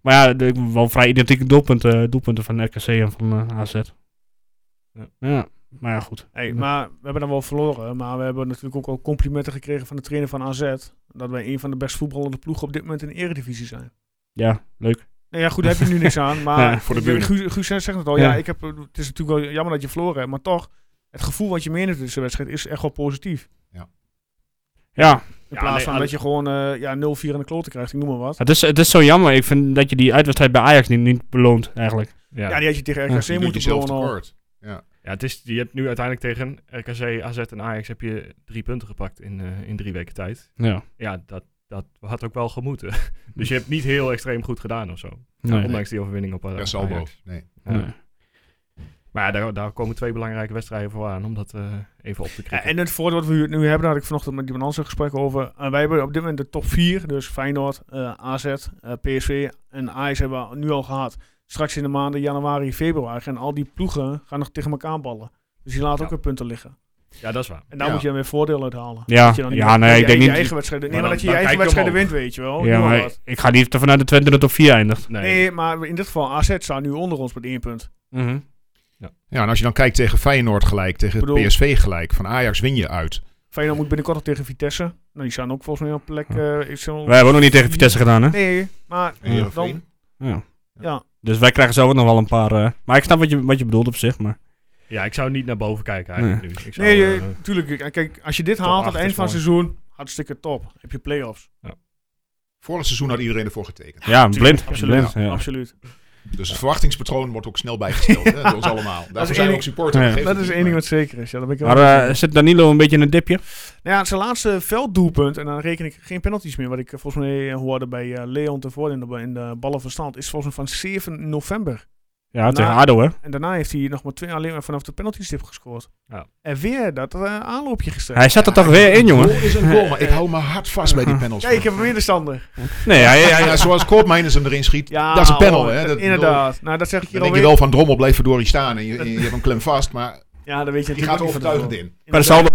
Maar ja, de, wel vrij identieke doelpunten, eh, doelpunten van RKC en van eh, AZ.
Ja.
Ja, maar ja, goed.
Hey,
Ja.
maar we hebben dan wel verloren. Maar we hebben natuurlijk ook al complimenten gekregen van de trainer van AZ. Dat wij een van de best voetballende ploegen op dit moment in de eredivisie zijn.
Ja, leuk.
Nou ja, goed, daar heb je nu niks aan. Maar
Ja,
voor de buren.
Guus, Guus zegt het al. Ja.
Ja.
ik heb, het is natuurlijk wel jammer dat je verloren hebt. Maar toch, het gevoel wat je meeneemt in deze wedstrijd is echt wel positief.
Ja,
In
Ja,
plaats
nee,
van
alle-
dat je gewoon eh, ja, 0-4 aan de kloten krijgt, ik noem maar wat.
het is, het is zo jammer. Ik vind dat je die uitwedstrijd bij Ajax niet, niet beloont, eigenlijk.
Ja.
Ja, die had je tegen
Ja,
RKC
Je doet
moeten
jezelf
gewoon al.
tekort.
Ja, het is, je hebt nu uiteindelijk tegen RKC, AZ en Ajax heb je drie punten gepakt in, eh, in drie weken tijd.
Ja.
Ja, dat, dat had ook wel gemoeten. dus je hebt niet heel extreem goed gedaan of zo.
Oh
Nee.
Ondanks die overwinning op eh,
Per
Ajax.
saldo. Nee.
Ja.
Nee.
Maar ja, daar, daar komen twee belangrijke wedstrijden voor aan om dat eh, even op te
Ja,
krikken.
en het voordeel wat we nu hebben, daar had ik vanochtend met iemand anders een gesprek over. En wij hebben op dit moment de top 4, dus Feyenoord, eh, AZ, eh, PSV en Ajax hebben we nu al gehad. Straks in de maanden januari, februari en al die ploegen gaan nog tegen elkaar ballen. Dus die laten
Ja.
ook weer punten liggen.
ja, dat is waar.
En daar
Ja.
moet je dan weer voordeel uit halen.
Ja,
Dat je dan
ja,
niet-
nee,
dat je
ik denk
je
niet-
Eigen wedstrijden, nee,
Maar
maar
dan-
dat je je
dan
eigen
kijk je
wedstrijden wint, weet je wel.
Ja,
Doe maar
maar
wat.
ik ga niet ervan uit dat Twente de top 4 eindigt.
Nee.
Nee, maar in dit geval AZ staat nu onder ons met één punt.
Ja, en als je dan kijkt tegen Feyenoord gelijk, tegen
Ik bedoel-
PSV gelijk, van Ajax win je uit.
Feyenoord moet binnenkort nog tegen Vitesse. Nou, die staan ook volgens mij op plek... eh, is zo-
Wij hebben ook nog niet tegen Vitesse gedaan, hè?
Nee, maar dan...
Heerenveen.
Ja.
Ja.
Dus wij krijgen zo ook nog wel een paar... eh, maar ik snap wat je, wat je bedoelt op zich, maar...
Ja, ik zou niet naar boven kijken eigenlijk nu. Ik zou,
Nee,
eh,
eh, tuurlijk. eh, Kijk, als je dit
top
haalt aan
acht
het eind
is
van het
mooi.
seizoen, hartstikke top. Dan Heb je play-offs.
Vorig seizoen had iedereen ervoor getekend.
Ja, blind.
absoluut,
blind, ja.
Absoluut.
Dus het verwachtingspatroon wordt ook snel bijgesteld. hè, door ons allemaal. Daarvoor
is
zijn we
één-
ook supporter.
Ja.
geef
Dat
het
is
niet,
één ding
maar-
wat zeker is. Ja, dat ben ik wel
Maar
mee
eh,
eens.
zit Danilo een beetje in een dipje?
Nou ja, zijn laatste velddoelpunt, en dan reken ik geen penalties meer, wat ik eh, volgens mij eh, hoorde bij eh, Leon tevoren in de, in de ballenverstand, is volgens mij van 7 november.
Ja,
Nou,
tegen ADO, hè?
En daarna heeft hij nog maar twee alleen maar vanaf de penaltystip gescoord.
Ja.
En weer dat eh, aanloopje gesteld.
Hij zat er toch weer in, jongen?
Goal is een goal, maar ik hou me hard vast bij die penalty.
Kijk, ik heb hem weer de stander.
Nee, hij,
Ja,
hij,
ja, zoals Koopmeiners hem erin schiet,
Ja,
dat is een panel.
hoor,
hè?
dat-
Dat-
inderdaad. Nou, dat zeg ik hier
Dan denk je
alweer.
wel van Drommel blijft verdorie staan en je, en je hebt hem klem vast, maar
Ja, dan weet je natuurlijk
die gaat
niet van
overtuigend
tevoren.
in.
maar de saldo,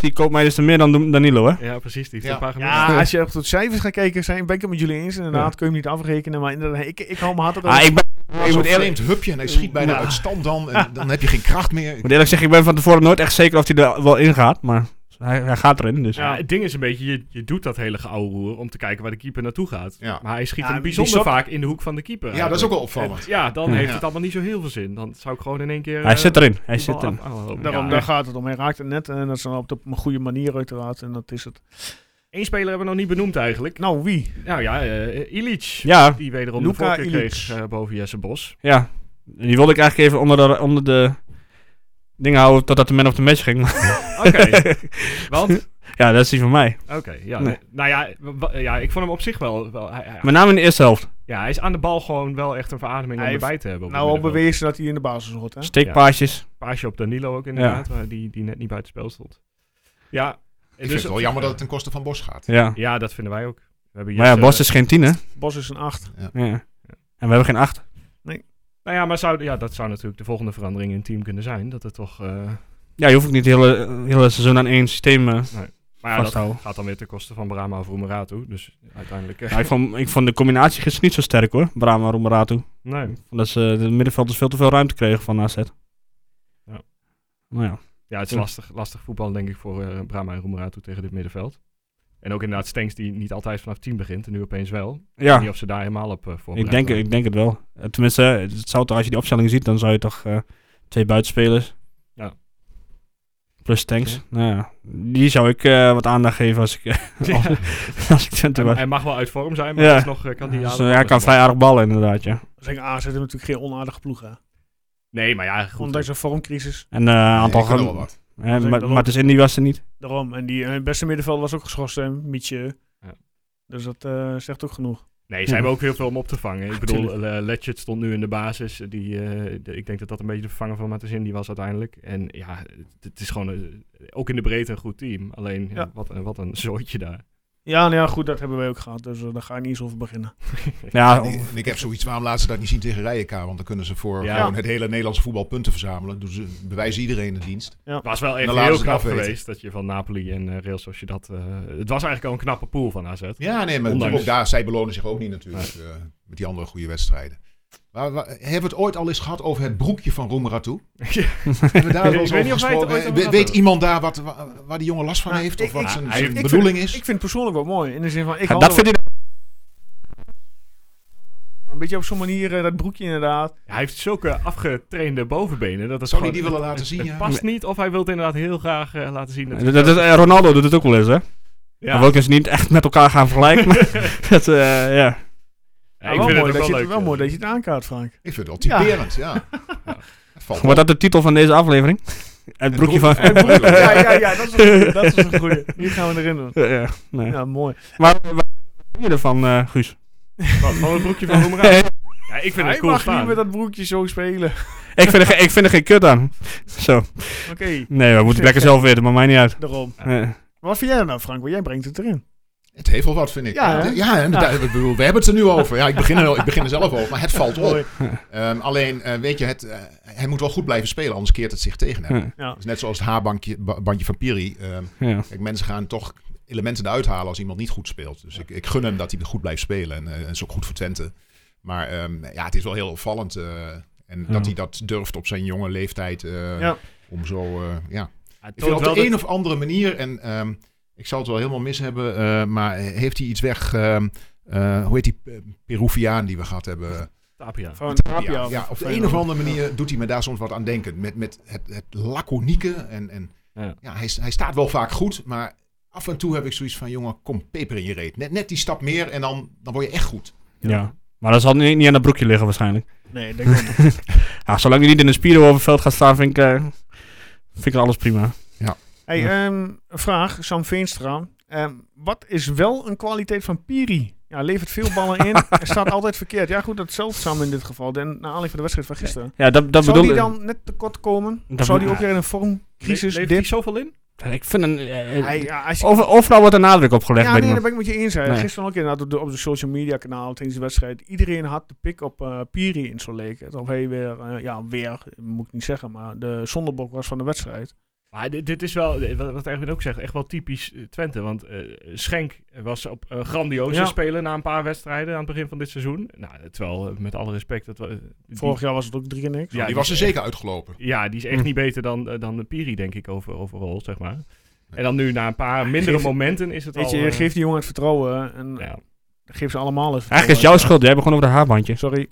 die koopt mij dus te meer dan Danilo, hè?
eh, Ja, precies. Die heeft
Ja.
een paar genomen.
Ja, als je echt tot cijfers gaat kijken, zijn, ben ik het met jullie eens. Inderdaad, kun je hem niet afrekenen. Maar inderdaad, ik, ik hou me hard
Ah, ik, ben, ik
Zo'n
moet, eerlijk,
vreemd hupje en hij schiet bijna
Ja.
uit stand dan en dan heb je geen kracht meer.
ik moet eerlijk zeggen, ik ben van tevoren nooit echt zeker of hij er wel in gaat, maar hij, hij gaat erin, dus...
Ja, het ding is een beetje, je, je doet dat hele geouwehoer om te kijken waar de keeper naartoe gaat.
Ja.
Maar hij schiet
Ja,
hem bijzonder
die shot-
vaak in de hoek van de keeper.
Ja, dat is ook wel opvallend.
Ja, dan
Ja.
heeft
Ja.
het allemaal niet zo heel veel zin. Dan zou ik gewoon in één keer...
Hij
eh,
zit erin, hij
die bal
zit erin.
af- oh, aflopen.
Daarom,
Ja.
daar gaat het om. Hij raakt het net eh, en dat is dan op de goede manier uiteraard. En dat is het.
Eén speler hebben we nog niet benoemd eigenlijk.
Nou, wie?
Nou ja, eh Ilic.
Ja,
Die wederom
Luka
de voorkeur
Ilic.
kreeg eh, boven Jesse Bos.
ja. Die wilde ik eigenlijk even onder de, onder de dingen houden totdat de man of the match ging. maar-
Oké, want...
ja, dat is die van mij.
Oké, ja.
Nee.
Nou ja, wa- ja, ik vond hem op zich wel... wel hij, hij-
Met name in de eerste helft.
ja, hij is aan de bal gewoon wel echt een verademing om
Hij
erbij te hebben. op het
Nou, al
middenveld.
bewezen dat hij in de basis hoort. Hè?
Steekpaasjes.
paasje op Danilo ook inderdaad, maar die, die net niet buiten spel stond. Ja, dus
Ik vind het wel jammer dat het ten koste van Bos gaat.
Ja.
Ja, dat vinden wij ook. We hebben
Maar ja,
Jesse-
Bos is geen tien, hè?
Bos is een 8.
Ja. En we hebben geen acht.
Nou ja, maar zou, ja, dat zou natuurlijk de volgende verandering in het team kunnen zijn. Dat het toch... eh,
Ja, je hoeft ook niet het hele, hele seizoen aan één systeem... eh.
maar ja, dat
Vasthouden.
gaat dan weer ten koste van Brahma of Roemerato. Dus uiteindelijk... eh,
Ja, ik, vond, ik vond de combinatie gisteren niet zo sterk, hoor. Brahma en Roemeratu.
nee.
Omdat ze de middenvelders veel te veel ruimte kregen van AZ.
Ja.
Nou ja.
Ja, het is
Ja.
lastig, lastig voetbal denk ik voor eh Brahma en Roemerato tegen dit middenveld. En ook inderdaad Stenks die niet altijd vanaf 10 begint en nu opeens wel.
Ja,
Niet of ze daar helemaal op eh
ik
voorbereid
denk,
waren.
ik denk het wel. Eh, Tenminste, het zou toch, als je die opstelling ziet, dan zou je toch eh, twee buitenspelers...
Ja.
Plus tanks.
Ja.
Nou ja, die zou ik eh, wat aandacht geven als ik, als, als ik Twente
Hij,
was.
hij mag wel uit vorm zijn, maar
Ja.
dat is nog eh, kan die
Dus, eh, ja, hij kan vrij aardig ballen inderdaad, ja.
Zeker AZ heeft natuurlijk geen onaardige ploeg. Hè?
Nee, maar ja, goed.
Ondanks een vormcrisis.
En eh, een aantal...
Ik kan er
gaan-
wel wat.
hè,
Dat
Eh, maar,
ook.
maar het is in die was er niet.
Daarom. En die eh, beste middenveld was ook geschorst, hè? Mietje.
Ja.
Dus dat eh, zegt ook genoeg.
Nee,
Ja.
ze hebben ook heel veel om op te vangen. Ik bedoel,
Tuurlijk.
eh, Letchert stond nu in de basis. Die, eh, de- ik denk dat dat een beetje de vervanger van Matazin die was uiteindelijk. En ja, het, het is gewoon eh, ook in de breedte een goed team. Alleen, ja,
Ja.
wat, een- wat een zooitje daar.
Ja, nou ja, goed, dat hebben wij ook gehad. Dus eh, daar ga ik niet eens over beginnen.
Ja,
En ik- en ik heb zoiets, waarom laten ze dat niet zien tegen Rijeka? Want dan kunnen ze voor
Ja.
gewoon het hele Nederlandse voetbal punten verzamelen. Doen ze, bewijzen iedereen de dienst.
Het was wel echt
Dan laten
heel
ze het
knap
afweten.
geweest dat je van Napoli en eh Real Sociedad... eh het was eigenlijk al een knappe pool van AZ.
Ja, nee, maar
Ondanks-
natuurlijk ook daar, zij belonen zich ook niet natuurlijk eh, met die andere goede wedstrijden. Maar, wa- hebben we het ooit al eens gehad over het broekje van Roemeratu?
Ja.
Hebben we daar wel eens
Ik weet
over
niet of wij het ooit
gesproken? Eh,
over
We-
hadden.
Weet iemand daar wat, wa- waar, die jongen last van
Nou,
heeft?
ik-
of wat
ik-
zijn,
hij-
zijn
ik vind-
bedoeling
Ik
is?
vind het persoonlijk wel mooi. In de zin van, ik
Ja,
hou
dat
er
vind ik.
wel een beetje op zo'n manier, eh, dat broekje inderdaad.
Hij heeft zulke afgetrainde bovenbenen. Dat is
Zou hij
gewoon-
die willen laten zien?
Het
ja?
past niet of hij wil het inderdaad heel graag eh, laten zien. Dat
Dat, dat, eh, Ronaldo doet het ook wel eens, hè?
ja.
Maar we kunnen ze niet echt met elkaar gaan vergelijken. maar dat, eh, ja.
Ja,
Ja,
ik
wel
vind
mooi
het
dat
ook
je
wel
het
leuk.
wel mooi dat je het aankaart, Frank.
Ik vind het
Ja.
wel typerend, ja. Het valt
Wordt dat de titel van deze aflevering? Het broekje van.
broekje van-
Ja, ja, ja, dat is een goeie. Dat is een goeie. Hier gaan we erin doen.
Ja, ja, nee.
Ja, mooi.
Maar wat vind je ervan, eh, Guus?
Wat, Van het broekje van Roemerato. Ja, ik vind
Hij
het cool
mag niet
staan.
met dat broekje zo spelen.
ik, vind er, geen- ik vind er geen kut aan. Zo.
Oké,
Nee, we moeten het lekker zelf weten, maar mij niet uit.
daarom.
Eh,
Maar Wat vind jij er nou, Frank? Want jij brengt het erin.
Het heeft wel wat, vind ik.
Ja,
Ja,
hè?
ja, en daar- ik bedoel, we hebben het er nu over. Ja, ik, begin er, ik begin er zelf over, maar het valt op.
Mooi.
Ehm, alleen, eh, weet je, het, eh, hij moet wel goed blijven spelen, anders keert het zich tegen hem.
Ja.
Ja.
Dat is net zoals het haarbandje ba- bandje van Piri. Ehm,
eh, ja.
kijk, mensen gaan toch elementen eruit halen als iemand niet goed speelt. Dus ik, ik gun hem dat hij goed blijft spelen. En eh, dat is ook goed voor Twente. Maar ehm, ja, het is wel heel opvallend. eh, en
Ja.
dat hij dat durft op zijn jonge leeftijd. eh,
Ja.
Om zo, eh, ja,
Hij
ik vind
toont
op de
wel
een of andere manier, en ehm, ik zal het wel helemaal mis hebben, eh, maar heeft hij iets weg? ehm, eh, hoe heet die eh, Peruviaan die we gehad hebben?
dat- Tapia.
Van
Ja,
Tapia.
ja, op de een of andere manier doet hij me daar soms wat aan denken. Met, met het, het laconieke. En, en,
Ja.
ja. hij, hij staat wel vaak goed, maar af en toe heb ik zoiets van... jongen, kom, peper in je reet. Net, net die stap meer en dan, dan word je echt goed.
Ja. Maar dat zal niet, niet aan dat broekje liggen, waarschijnlijk.
Nee, denk ik niet.
Ja, zolang hij niet in een spieren over het veld gaat staan, vind ik, eh, vind ik alles prima.
Hey, ehm, een vraag, Sam Veenstra. Ehm, wat is wel een kwaliteit van Piri? Ja, levert veel ballen in. en staat altijd verkeerd. Ja, goed, dat is zeldzaam in dit geval. Den, naar aanleiding van de wedstrijd van gisteren.
Ja, dat, dat
zou
bedoel
die
ik.
dan net tekort komen?
Dat
Of zou die
bedoel-
ook weer in een vormcrisis
Le- leeft hij
dip?
zoveel in?
Ik vind een... eh, eh,
Hij- ja, als je-
of, of nou wordt er nadruk op gelegd
ja,
bij
nee, daar
iemand.
ben ik met je eens. hè.
Nee.
Gisteren ook inderdaad op de, op de social media kanaal tijdens de wedstrijd. Iedereen had de pik op eh, Piri in zo leek. het. Of hij weer, eh, ja, weer, moet ik niet zeggen, maar de zondebok was van de wedstrijd.
Maar dit, dit is wel, eh, wat wat Erwin ook zegt, echt wel typisch eh, Twente. Want eh, Schenk was op eh, grandioze
Ja.
spelen na een paar wedstrijden aan het begin van dit seizoen. Nou, terwijl, eh, met alle respect, dat we, eh, die-
Vorig jaar was het ook drie keer niks.
ja,
die
die
was er
is
zeker uitgelopen.
Ja, die is echt
Hm.
niet beter dan, eh, dan Piri, denk ik, over, overal, zeg maar. En dan nu, na een paar mindere
Geef-
momenten, is het
Weet
al...
je,
eh,
geef die jongen het vertrouwen en
ja.
geef ze allemaal het vertrouwen.
Eigenlijk is het jouw schuld. Jij begon over de haarbandje.
Sorry,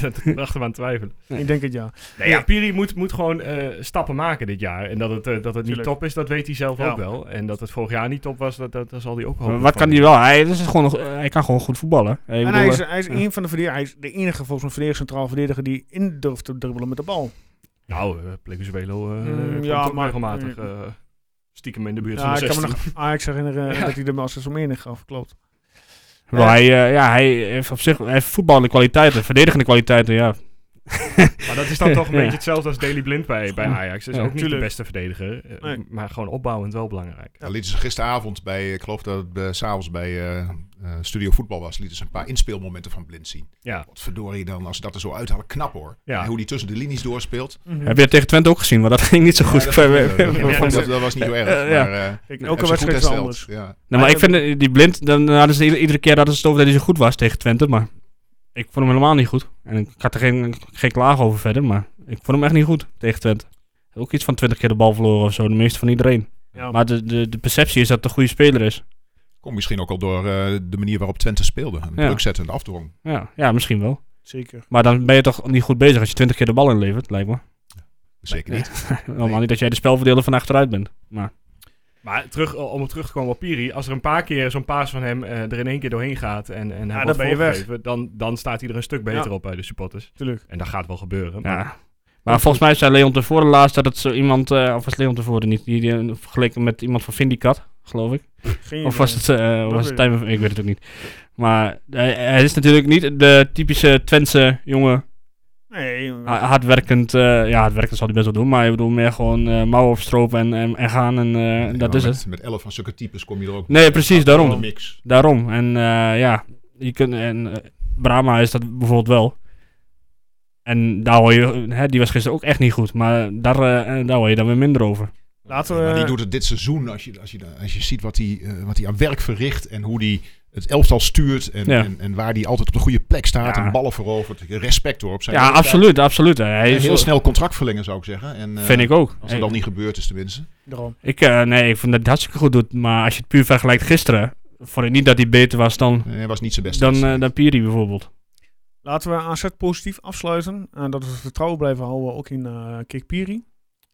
dat bracht hem aan het twijfelen.
ik denk het ja.
Nee, ja, Piri moet, moet gewoon eh, stappen maken dit jaar. En dat het, eh, dat het niet
Tuurlijk.
top is, dat weet hij zelf
Ja.
ook wel. En dat het vorig jaar niet top was, dat, dat, dat zal hij ook
Maar
hopen.
Wat kan
die
hij wel? Hij, dat is gewoon, nog- eh, hij kan gewoon goed voetballen. Eh, ik
En
bedoel,
hij is,
eh,
hij is
ja.
een van de verdediger, hij is de enige volgens mij verdediger, centraal verdediger die in durft te dribbelen met de bal.
Nou, uh, Plekusvelo eh
Mm,
komt
ja, maar-
ook
mm.
regelmatig eh, stiekem in de buurt
Ja,
van de
ik kan me
16.
nog Ajax herinneren eh,
Ja.
dat hij er maar als om mening gaf, klopt.
Wel, hij, eh, ja, hij heeft op zich hij heeft voetballende kwaliteiten, verdedigende kwaliteiten, ja.
Maar dat is dan toch een
Ja.
beetje hetzelfde als Daily Blind bij, bij Ajax. Dat is
Ja,
ook niet
tuurlijk.
de beste verdediger. eh,
Nee.
Maar gewoon opbouwend wel belangrijk.
Dan lieten ze gisteravond bij, ik geloof dat het eh, 's s'avonds bij eh, eh, Studio Voetbal was, lieten ze een paar inspeelmomenten van Blind zien.
Ja,
Wat verdorie dan, als ze dat er zo uithalen, knap hoor.
Ja.
En hoe die tussen de linies doorspeelt.
Heb je dat tegen Twente ook gezien? Want dat ging niet zo goed.
Ja, dat, eh, dat-
Ja,
dat-
dat-
dat was niet zo erg,
eh,
maar
ja.
eh, hebben
Kijk,
ze
elke
goed
wedstrijd is
hersteld.
anders.
Ja.
Nee, maar ik vind eh, die blind, dan hadden ze iedere, iedere keer hadden ze het over dat hij zo goed was tegen Twente, maar ik vond hem helemaal niet goed. En ik had er geen, geen klaag over verder, maar ik vond hem echt niet goed tegen Twente. Ook iets van 20 keer de bal verloren of zo, de meeste van iedereen.
Ja.
Maar de, de, de perceptie is dat het een goede speler is.
Komt misschien ook al door eh, de manier waarop Twente speelde. Een
Ja.
druk zetten en afdwong.
Ja, ja, misschien wel.
Zeker.
Maar dan ben je toch niet goed bezig als je 20 keer de bal inlevert, lijkt me.
Zeker
Nee.
niet.
Helemaal niet dat jij de spelverdeler van achteruit bent. Maar
maar terug, eh, om op terug te komen op Piri. Als er een paar keer zo'n paas van hem eh, er in één keer doorheen gaat en, en hem
dan
wordt
ben je weg.
voorgegeven, Dan, dan staat hij er een stuk beter
Ja.
op bij de supporters.
Tuurlijk.
En dat gaat wel gebeuren. maar-
Ja. Maar volgens mij zei Leon tevoren laatst dat het zo iemand, eh, of was Leon tevoren niet, die, die vergeleken met iemand van Vindicat, geloof ik.
Geen
Of was het, eh was het
weet ik
Tijmen- ik weet het ook niet. Maar hij, hij is natuurlijk niet de typische Twentse jongen,
Nee,
ha- hardwerkend, eh, ja hardwerkend zal hij best wel doen, maar ik bedoel meer gewoon eh, mouwen opstropen en, en, en gaan en eh,
Nee,
dat
maar
is
met,
het.
Met elf van zulke types kom je er ook
Nee, precies,
een
daarom.
mix.
Daarom. En eh, ja, je kunt, en eh, Brahma is dat bijvoorbeeld wel. En daar hoor je, hè, die was gisteren ook echt niet goed, maar daar, eh, eh, daar hoor je dan weer minder over.
laten
Ja,
we...
maar die doet het dit seizoen, als je, als je, als je ziet wat hij eh, wat hij aan werk verricht en hoe hij het elftal stuurt en,
Ja.
en, en waar hij altijd op de goede plek staat
Ja.
en ballen verovert. Respect hoor op zijn
Ja,
leeftijd.
absoluut, absoluut. Hij
En
is
heel snel contract verlengen zou ik zeggen. En, eh,
Vind ik ook.
Als dat dan niet gebeurd is tenminste.
Daarom.
Ik, eh, nee, ik vind dat hij het hartstikke goed doet, maar als je het puur vergelijkt gisteren, vond ik niet dat hij beter was dan,
Eh, Hij was niet zijn beste.
dan, eh,
wedstrijd.
dan Piri bijvoorbeeld.
Eh,
Laten we AZ positief afsluiten. En dat we het vertrouwen blijven houden ook in eh Kikpiri.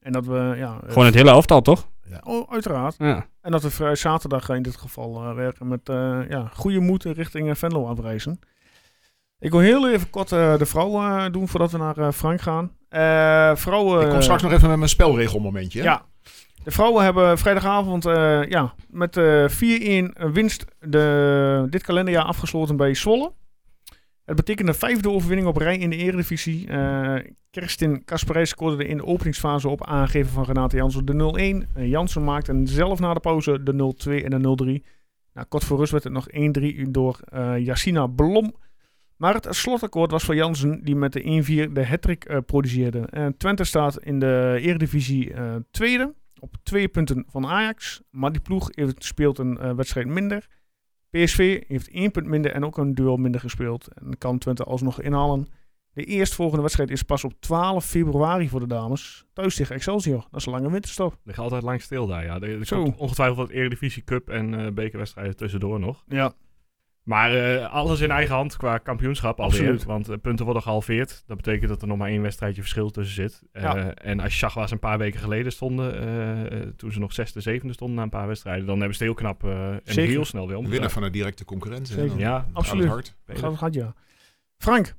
En dat we, ja... eh,
Gewoon het hele elftal, toch?
oh, uiteraard.
Ja.
En dat we vrij zaterdag eh, in dit geval eh, werken met eh, ja, goede moed richting eh, Venlo afreizen. Ik wil heel even kort eh, de vrouw eh, doen voordat we naar eh, Frank gaan. Eh, vrouwen,
ik kom straks nog even met mijn spelregelmomentje. hè?
Ja. De vrouwen hebben vrijdagavond eh, ja, met eh 4-1 winst de, dit kalenderjaar afgesloten bij Zwolle. Het betekende vijfde overwinning op rij in de Eredivisie. Eh, Kerstin Kasperij scoorde in de openingsfase op aangeven van Renate Jansen de 0-1. Eh, Jansen maakte en zelf na de pauze de 0-2 en de 0-3. Nou, kort voor rust werd het nog 1-3 door eh Yassina Blom. Maar het slotakkoord was voor Jansen, die met de 1-4 de hattrick eh produceerde. En Twente staat in de Eredivisie eh, tweede, op twee punten van Ajax. Maar die ploeg heeft, speelt een eh, wedstrijd minder. PSV heeft één punt minder en ook een duel minder gespeeld. En kan Twente alsnog inhalen. De eerstvolgende wedstrijd is pas op 12 februari voor de dames. Thuis tegen Excelsior. Dat is een lange winterstop.
Ligt altijd lang stil daar, ja. Er, er
Zo.
komt ongetwijfeld wat Eredivisie Cup en eh, bekerwedstrijden tussendoor nog.
Ja,
Maar eh, alles in eigen hand qua kampioenschap alweer.
Absoluut.
Want eh, punten worden gehalveerd. Dat betekent dat er nog maar één wedstrijdje verschil tussen zit. Eh,
Ja.
En als je zag waar ze een paar weken geleden stonden, eh, eh, toen ze nog zesde, zevende stonden na een paar wedstrijden, dan hebben ze het heel knap eh, en
Zeker.
heel snel weer
De
omgedraaid.
winnaar van de directe concurrent. hè,
Zeker.
dan
Ja,
gaat het
absoluut.
hard.
gaat, gaat ja. Frank,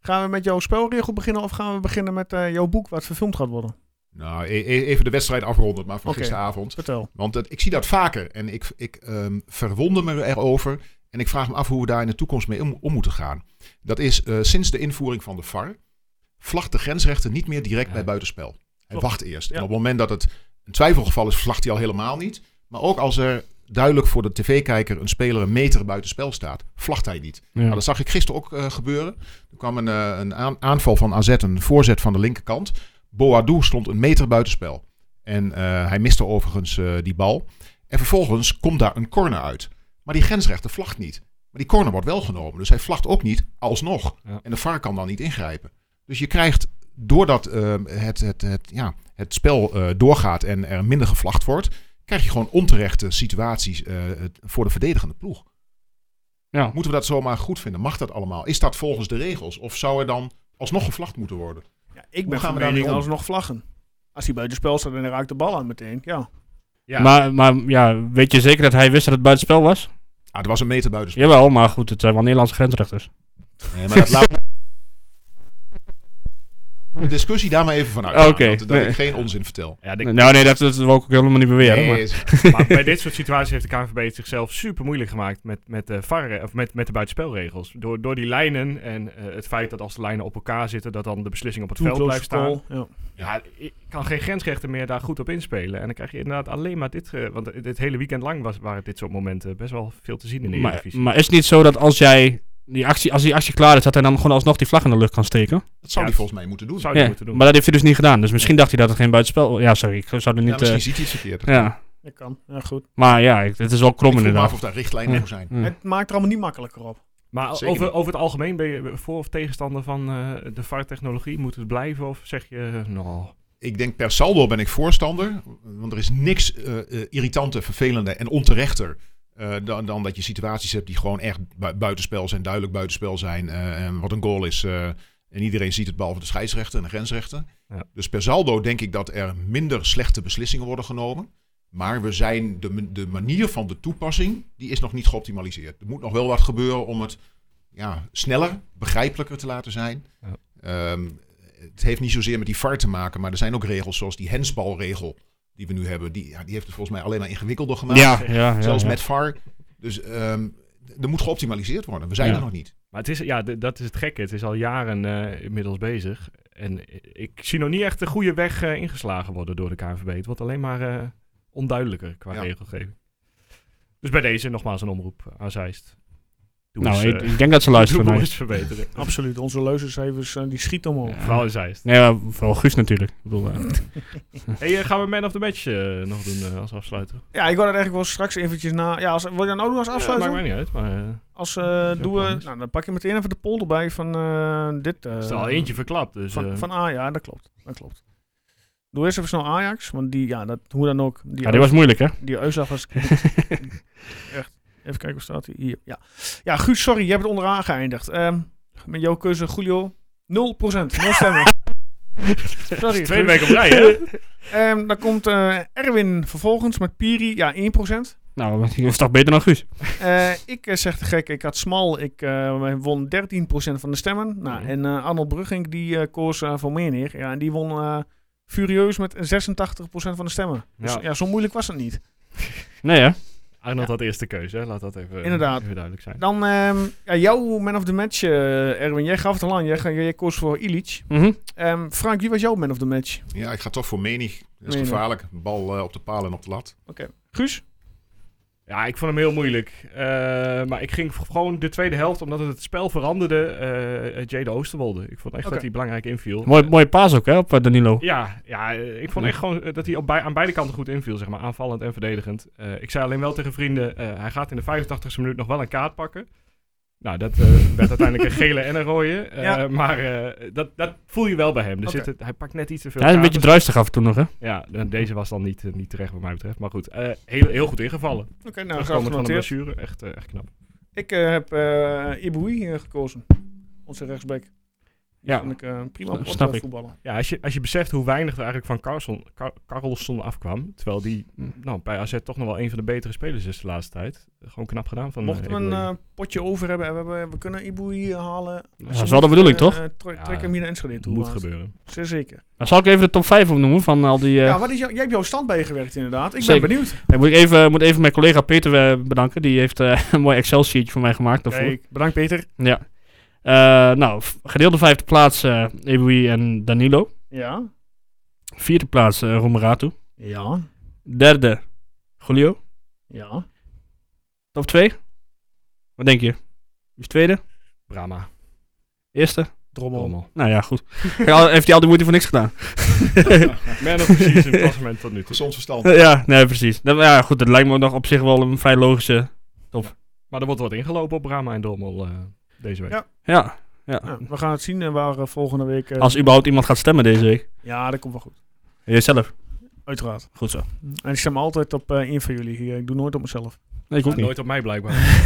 gaan we met jouw spelregel beginnen of gaan we beginnen met eh, jouw boek wat verfilmd gaat worden?
Nou, e- e- even de wedstrijd afronden, maar van
Oké.
gisteravond.
Vertel.
Want het- ik zie dat vaker en ik, ik ehm, verwonder me erover En ik vraag me af hoe we daar in de toekomst mee om, om moeten gaan. Dat is eh, sinds de invoering van de VAR vlagt de grensrechter niet meer direct
Ja.
bij buitenspel. Hij
Klopt.
wacht eerst.
Ja.
En op het moment dat het een twijfelgeval is, vlagt hij al helemaal niet. Maar ook als er duidelijk voor de tv-kijker een speler een meter buitenspel staat, vlagt hij niet.
Ja.
Nou, dat zag ik gisteren ook eh, gebeuren. Er kwam een, eh, een aan- aanval van AZ, een voorzet van de linkerkant. Boadou stond een meter buitenspel. En eh, hij miste overigens eh, die bal. En vervolgens komt daar een corner uit. Maar die grensrechter vlagt niet. Maar die corner wordt wel genomen. Dus hij vlagt ook niet, alsnog.
Ja.
En de VAR kan dan niet ingrijpen. Dus je krijgt, doordat eh, het, het, het, ja, het spel eh, doorgaat en er minder gevlacht wordt... krijg je gewoon onterechte situaties eh, het- voor de verdedigende ploeg.
Ja.
Moeten we dat zomaar goed vinden? Mag dat allemaal? Is dat volgens de regels? Of zou er dan alsnog gevlacht moeten worden?
Ja, ik
Hoe
ben
gaan
van
we daarmee
mening
om?
alsnog vlaggen. Als hij buitenspel staat en hij raakt de bal aan meteen. Ja,
Ja.
Maar, maar ja, weet je zeker dat hij wist dat het buitenspel was?
Ah, er was een meter buiten.
Jawel, maar goed, het zijn wel Nederlandse grensrechters.
Nee, maar dat laat... De discussie daar maar even vanuit.
Oké,
Dat, dat
nee.
ik geen onzin vertel.
Ja, de-
Nou nee, dat, dat wil ik ook helemaal niet beweren.
Nee,
maar-
is-
maar bij dit soort situaties heeft de KNVB het zichzelf super moeilijk gemaakt met, met, de, VAR, eh, of met, met de buitenspelregels. Door, door die lijnen en eh, het feit dat als de lijnen op elkaar zitten, dat dan de beslissing op het veld blijft staan.
goal. Ja.
Ja, ik kan geen grensrechter meer daar goed op inspelen. En dan krijg je inderdaad alleen maar dit. eh, want dit hele weekend lang was, waren dit soort momenten best wel veel te zien in de
maar,
Eredivisie.
maar is het niet zo dat als jij die actie, als die actie klaar is, dat hij dan gewoon alsnog die vlag in de lucht kan steken?
dat zou
Ja,
hij volgens mij Oh, moeten doen.
Dat zou je
Ja,
moeten doen.
Maar dat heeft hij dus niet gedaan. Dus misschien dacht hij dat het geen buitenspel... Ja, sorry, ik zou er
Ja,
niet...
misschien
Ja,
ziet hij het verkeerd.
ja.
Dat kan. Ja, goed.
maar ja, ik- het is wel
ik
krom
vroeg me
inderdaad.
af of daar richtlijnen
Ja.
voor zijn.
Hm.
Ja.
Het maakt er allemaal niet makkelijker op.
Maar
Zeker
over,
niet.
over het algemeen ben je voor of tegenstander van eh, de VAR-technologie? Moet het blijven of zeg je, eh, nou,
Ik denk per saldo ben ik voorstander. Want er is niks eh eh, irritanter, vervelender en onterechter. eh, dan, dan dat je situaties hebt die gewoon echt bui- buitenspel zijn, duidelijk buitenspel zijn. eh, en wat een goal is. eh, en iedereen ziet het behalve de scheidsrechter en de grensrechter.
Ja.
Dus per saldo denk ik dat er minder slechte beslissingen worden genomen. Maar we zijn de, ma- de manier van de toepassing, die is nog niet geoptimaliseerd. Er moet nog wel wat gebeuren om het ja, sneller, begrijpelijker te laten zijn.
Ja.
Ehm, het heeft niet zozeer met die VAR te maken, maar er zijn ook regels zoals die hensbalregel die we nu hebben. Die, ja, die heeft het volgens mij alleen maar ingewikkelder gemaakt,
Ja, ja, ja,
zelfs
ja.
met VAR. Dus ehm, d- er moet geoptimaliseerd worden. We zijn
Ja.
er nog niet.
Maar het is, ja, d- dat is het gekke. Het is al jaren eh, inmiddels bezig. En ik zie nog niet echt de goede weg eh, ingeslagen worden door de KNVB. Het wordt alleen maar eh, onduidelijker qua
Ja.
regelgeving. Dus bij deze nogmaals een omroep aan Zeist. Doe eens,
Nou,
eh,
ik, ik denk dat ze luisteren.
doe
naar je.
eens verbeteren.
Absoluut. Onze leuzenzevers, eh, die schieten omhoog.
Ja.
Vooral in Zeist.
Nee, ja, vooral Guus natuurlijk. Ik bedoel, eh,
Hey, eh, gaan we Man of the Match eh, nog doen eh, als afsluiter?
Ja, ik wou dat eigenlijk wel straks eventjes na... Ja, als, wil je dat nou doen als
Ja,
afsluiting?
maakt mij niet uit, maar... eh,
als eh
Zo
doen we...
anders.
Nou, dan pak je meteen even de poll erbij van eh, dit... eh,
er is er al eentje verklapt, dus... eh,
Van, van A, ja, dat klopt. Dat klopt. Doe eerst even snel Ajax, want die, ja, dat, hoe dan ook. Die
ja, die was moeilijk, hè?
Die uitslag was... Echt. Even kijken, waar staat hij? Hier. Ja. ja, Guus, sorry, je hebt het onderaan geëindigd. Ehm, met jouw keuze, Julio, 0%. 0 stemmen. sorry.
Tweede
Guus.
week op rij, hè?
Ehm, dan komt eh, Erwin vervolgens met Piri, ja, 1%.
Nou, die was toch beter dan Guus?
Eh, ik eh, zeg de gek, ik had smal, ik eh, won 13% van de stemmen. Nou,
Mhm.
en eh Arnold Brugging, die eh, koos eh, voor meer neer. Ja, en die won eh, furieus met 86% van de stemmen. Dus
Ja.
ja, zo moeilijk was het niet.
Nee, hè?
Arnold had eerst de keuze, hè? Laat dat even,
Inderdaad.
even duidelijk zijn.
Dan ehm, ja, jouw man of the match, eh, Erwin. Jij gaf het al aan. Jij, ga- jij koos voor Illich.
Mhm.
Ehm, Frank, wie was jouw man of the match?
Ja, ik ga toch voor menig. Dat is
Menig.
gevaarlijk. Bal eh, op de paal en op de lat.
Guus?
Ja, ik vond hem heel moeilijk. Eh, maar ik ging v- gewoon de tweede helft, omdat het het spel veranderde, eh Jade Oosterwolde. Ik vond echt
Oké.
dat hij belangrijk inviel.
Mooi, mooie paas ook, hè, op eh, Danilo.
Ja, ja, eh, ik vond echt gewoon eh, dat hij op bij, aan beide kanten goed inviel, zeg maar, aanvallend en verdedigend. Eh, ik zei alleen wel tegen vrienden, eh, hij gaat in de 85e minuut nog wel een kaart pakken. Nou, dat eh, werd uiteindelijk een gele en een rode. Eh,
Ja.
Maar eh, dat, dat voel je wel bij hem. Er
Oké.
zit het- hij pakt net iets te veel
Hij is een
kaarten.
beetje druistig af en toe nog, hè?
Ja, de- deze was dan niet, eh, niet terecht wat mij betreft. Maar goed, eh, heel, heel goed ingevallen.
Oké, nou, graag
Terugkomend van de
genoteerd.
blessure, echt, eh, echt knap.
Ik eh, heb eh Iboui eh, gekozen. Onze rechtsback.
Ja,
Vond ik eh, prima
Snap-
op-
snap
eh,
ik.
voetballen.
Ja, als je, als je beseft hoe weinig er eigenlijk van Carlson, Car Carlson afkwam. Terwijl die
Hm.
nou, bij AZ toch nog wel een van de betere spelers is de laatste tijd. Gewoon knap gedaan van
Mochten we
eh,
een
Eboué.
eh, potje over hebben en we, hebben, we kunnen Iboui halen.
dat is wel de bedoeling, toch?
Ja,
eh, trek hem hier naar Enschede toe.
moet
maar-
gebeuren.
Zeer zeker.
Nou, zal ik even de top 5 opnoemen van al die... eh,
Ja, wat is jou, jij hebt jouw stand bijgewerkt inderdaad. Ik
Zeker.
ben benieuwd.
Ik moet, even, moet even mijn collega Peter eh, bedanken. Die heeft eh, een mooi Excel-sheetje voor mij gemaakt daarvoor.
Kijk, bedankt Peter.
Ja. Eh, nou, v- gedeelde vijfde plaats eh Eboué en Danilo.
Ja.
Vierde plaats eh Romeratu.
Ja.
Derde, Julio.
Ja.
Top 2. Wat denk je? Wie is tweede?
Brahma.
Eerste?
Drommel.
Allemaal.
Nou ja, goed. Kijk, al- heeft hij al die moeite voor niks gedaan?
Man of precies in het klassement tot nu toe.
Gezond verstand.
Eh, ja, nee, precies. Dat, ja, goed, dat lijkt me nog op zich wel een vrij logische...
Maar er wordt wat ingelopen op Brahma en Drommel eh, deze week.
Ja.
Ja, ja.
Nou, we gaan het zien en waar eh, volgende week... eh,
Als überhaupt iemand gaat stemmen deze week.
Ja, dat komt wel goed.
Jezelf.
Uiteraard.
Goed zo.
En ik stem altijd op eh één van jullie hier. Ik doe nooit op mezelf.
Nee, ik ook niet.
Nooit op mij blijkbaar.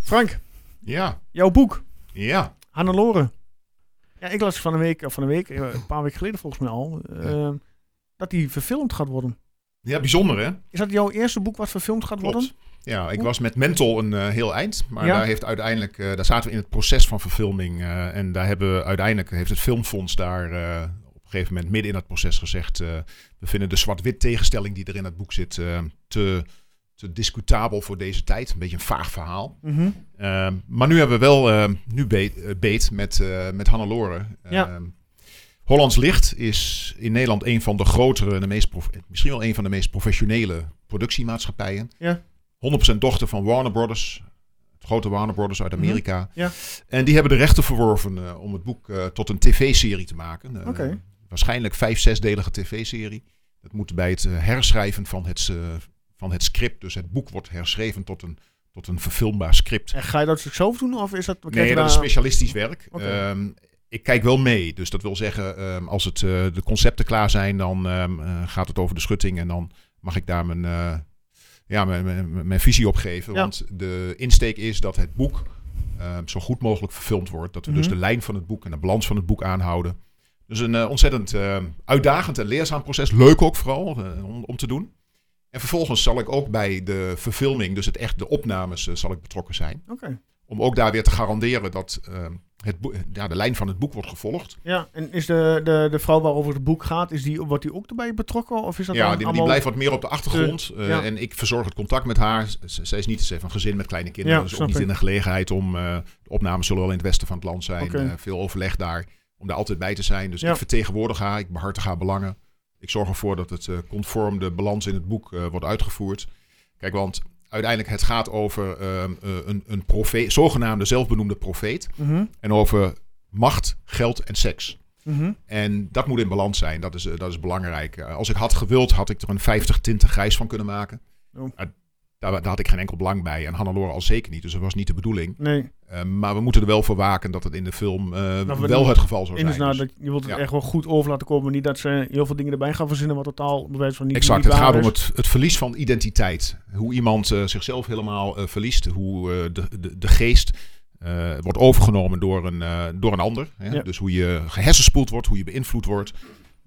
Frank,
Ja,
jouw boek.
ja.
Hannelore. Ja, ik las van een week, of van een week, eh, een paar weken geleden volgens mij al, eh, dat die verfilmd gaat worden.
Ja, bijzonder hè?
Is dat jouw eerste boek wat verfilmd gaat worden?
Klopt. Ja, ik
Hoe-
was met Mental een eh, heel eind. Maar
Ja.
daar, heeft uiteindelijk, eh, daar zaten we in het proces van verfilming. eh, en daar hebben we uiteindelijk heeft het Filmfonds daar eh, op een gegeven moment midden in dat proces gezegd. eh, we vinden de zwart-wit tegenstelling die er in het boek zit eh, te, te discutabel voor deze tijd. Een beetje een vaag verhaal.
Mhm.
Ehm, maar nu hebben we wel ehm, nu beet, eh, beet met, eh met Hannelore.
Ja.
Ehm, Hollands Licht is in Nederland een van de grotere, en de meest prof- eh, misschien wel een van de meest professionele productiemaatschappijen.
Ja.
100% dochter van Warner Brothers, het grote Warner Brothers uit Amerika.
Mhm. Ja.
En die hebben de rechten verworven eh, om het boek eh, tot een tv-serie te maken. Eh,
Oké.
Waarschijnlijk vijf, zesdelige tv-serie. Dat moet bij het eh, herschrijven van het, eh, van het script. Dus het boek wordt herschreven tot een, tot een verfilmbaar script.
En ga je dat zelf doen of is dat... we
Nee,
krijgen
dat is
daar-
specialistisch werk.
Oké.
Ehm, ik kijk wel mee. Dus dat wil zeggen, ehm, als het, eh, de concepten klaar zijn, dan ehm, eh, gaat het over de schutting. En dan mag ik daar mijn, eh, ja, mijn, mijn, mijn visie op geven.
Ja.
Want de insteek is dat het boek ehm, zo goed mogelijk verfilmd wordt. Dat we dus
Mhm.
de lijn van het boek en de balans van het boek aanhouden. Dus een eh, ontzettend ehm, uitdagend en leerzaam proces. Leuk ook vooral eh, om, om te doen. En vervolgens zal ik ook bij de verfilming, dus het echt de opnames, eh, zal ik betrokken zijn
Oké.
om ook daar weer te garanderen dat ehm, het boek- ja, de lijn van het boek wordt gevolgd.
Ja, en is de, de, de vrouw waarover het boek gaat, is die, wordt die ook erbij betrokken? Of is dat
ja,
dan
die, die
allemaal-
blijft wat meer op de achtergrond. eh,
ja.
En ik verzorg het contact met haar. Z- z- Zij is niet, ze heeft een gezin met kleine kinderen.
Ja,
dus ook
snap
niet
ik.
in de gelegenheid om. eh, de opnames zullen wel in het westen van het land zijn.
Oké.
eh, veel overleg daar. Om daar altijd bij te zijn. Dus
Ja.
ik vertegenwoordig haar. Ik behartig haar belangen. Ik zorg ervoor dat het eh, conform de balans in het boek eh, wordt uitgevoerd. Kijk, want uiteindelijk het gaat over ehm, eh, een, een profeet, zogenaamde zelfbenoemde profeet.
Mhm,
En over macht, geld en seks.
mhm.
En dat moet in balans zijn. Dat is, eh, dat is belangrijk. Eh, als ik had gewild, had ik er een 50 tinten grijs van kunnen maken.
Oh.
Eh, daar, daar had ik geen enkel belang bij. En Hannelore al zeker niet. Dus dat was niet de bedoeling.
Nee,
Eh, maar we moeten er wel voor waken dat het in de film eh,
we
wel
doen-
het geval zou zijn.
inderdaad,
Dus-
nou dat, je wilt het
ja.
echt wel goed over laten komen. Niet dat ze heel veel dingen erbij gaan verzinnen wat totaal bewijs van niet
exact.
niet
Het
waar
gaat om
is.
het, het verlies van identiteit. Hoe iemand eh, zichzelf helemaal eh, verliest. Hoe eh, de, de, de geest eh, wordt overgenomen door een, eh, door een ander. Hè?
Ja.
Dus hoe je gehersenspoeld wordt, hoe je beïnvloed wordt.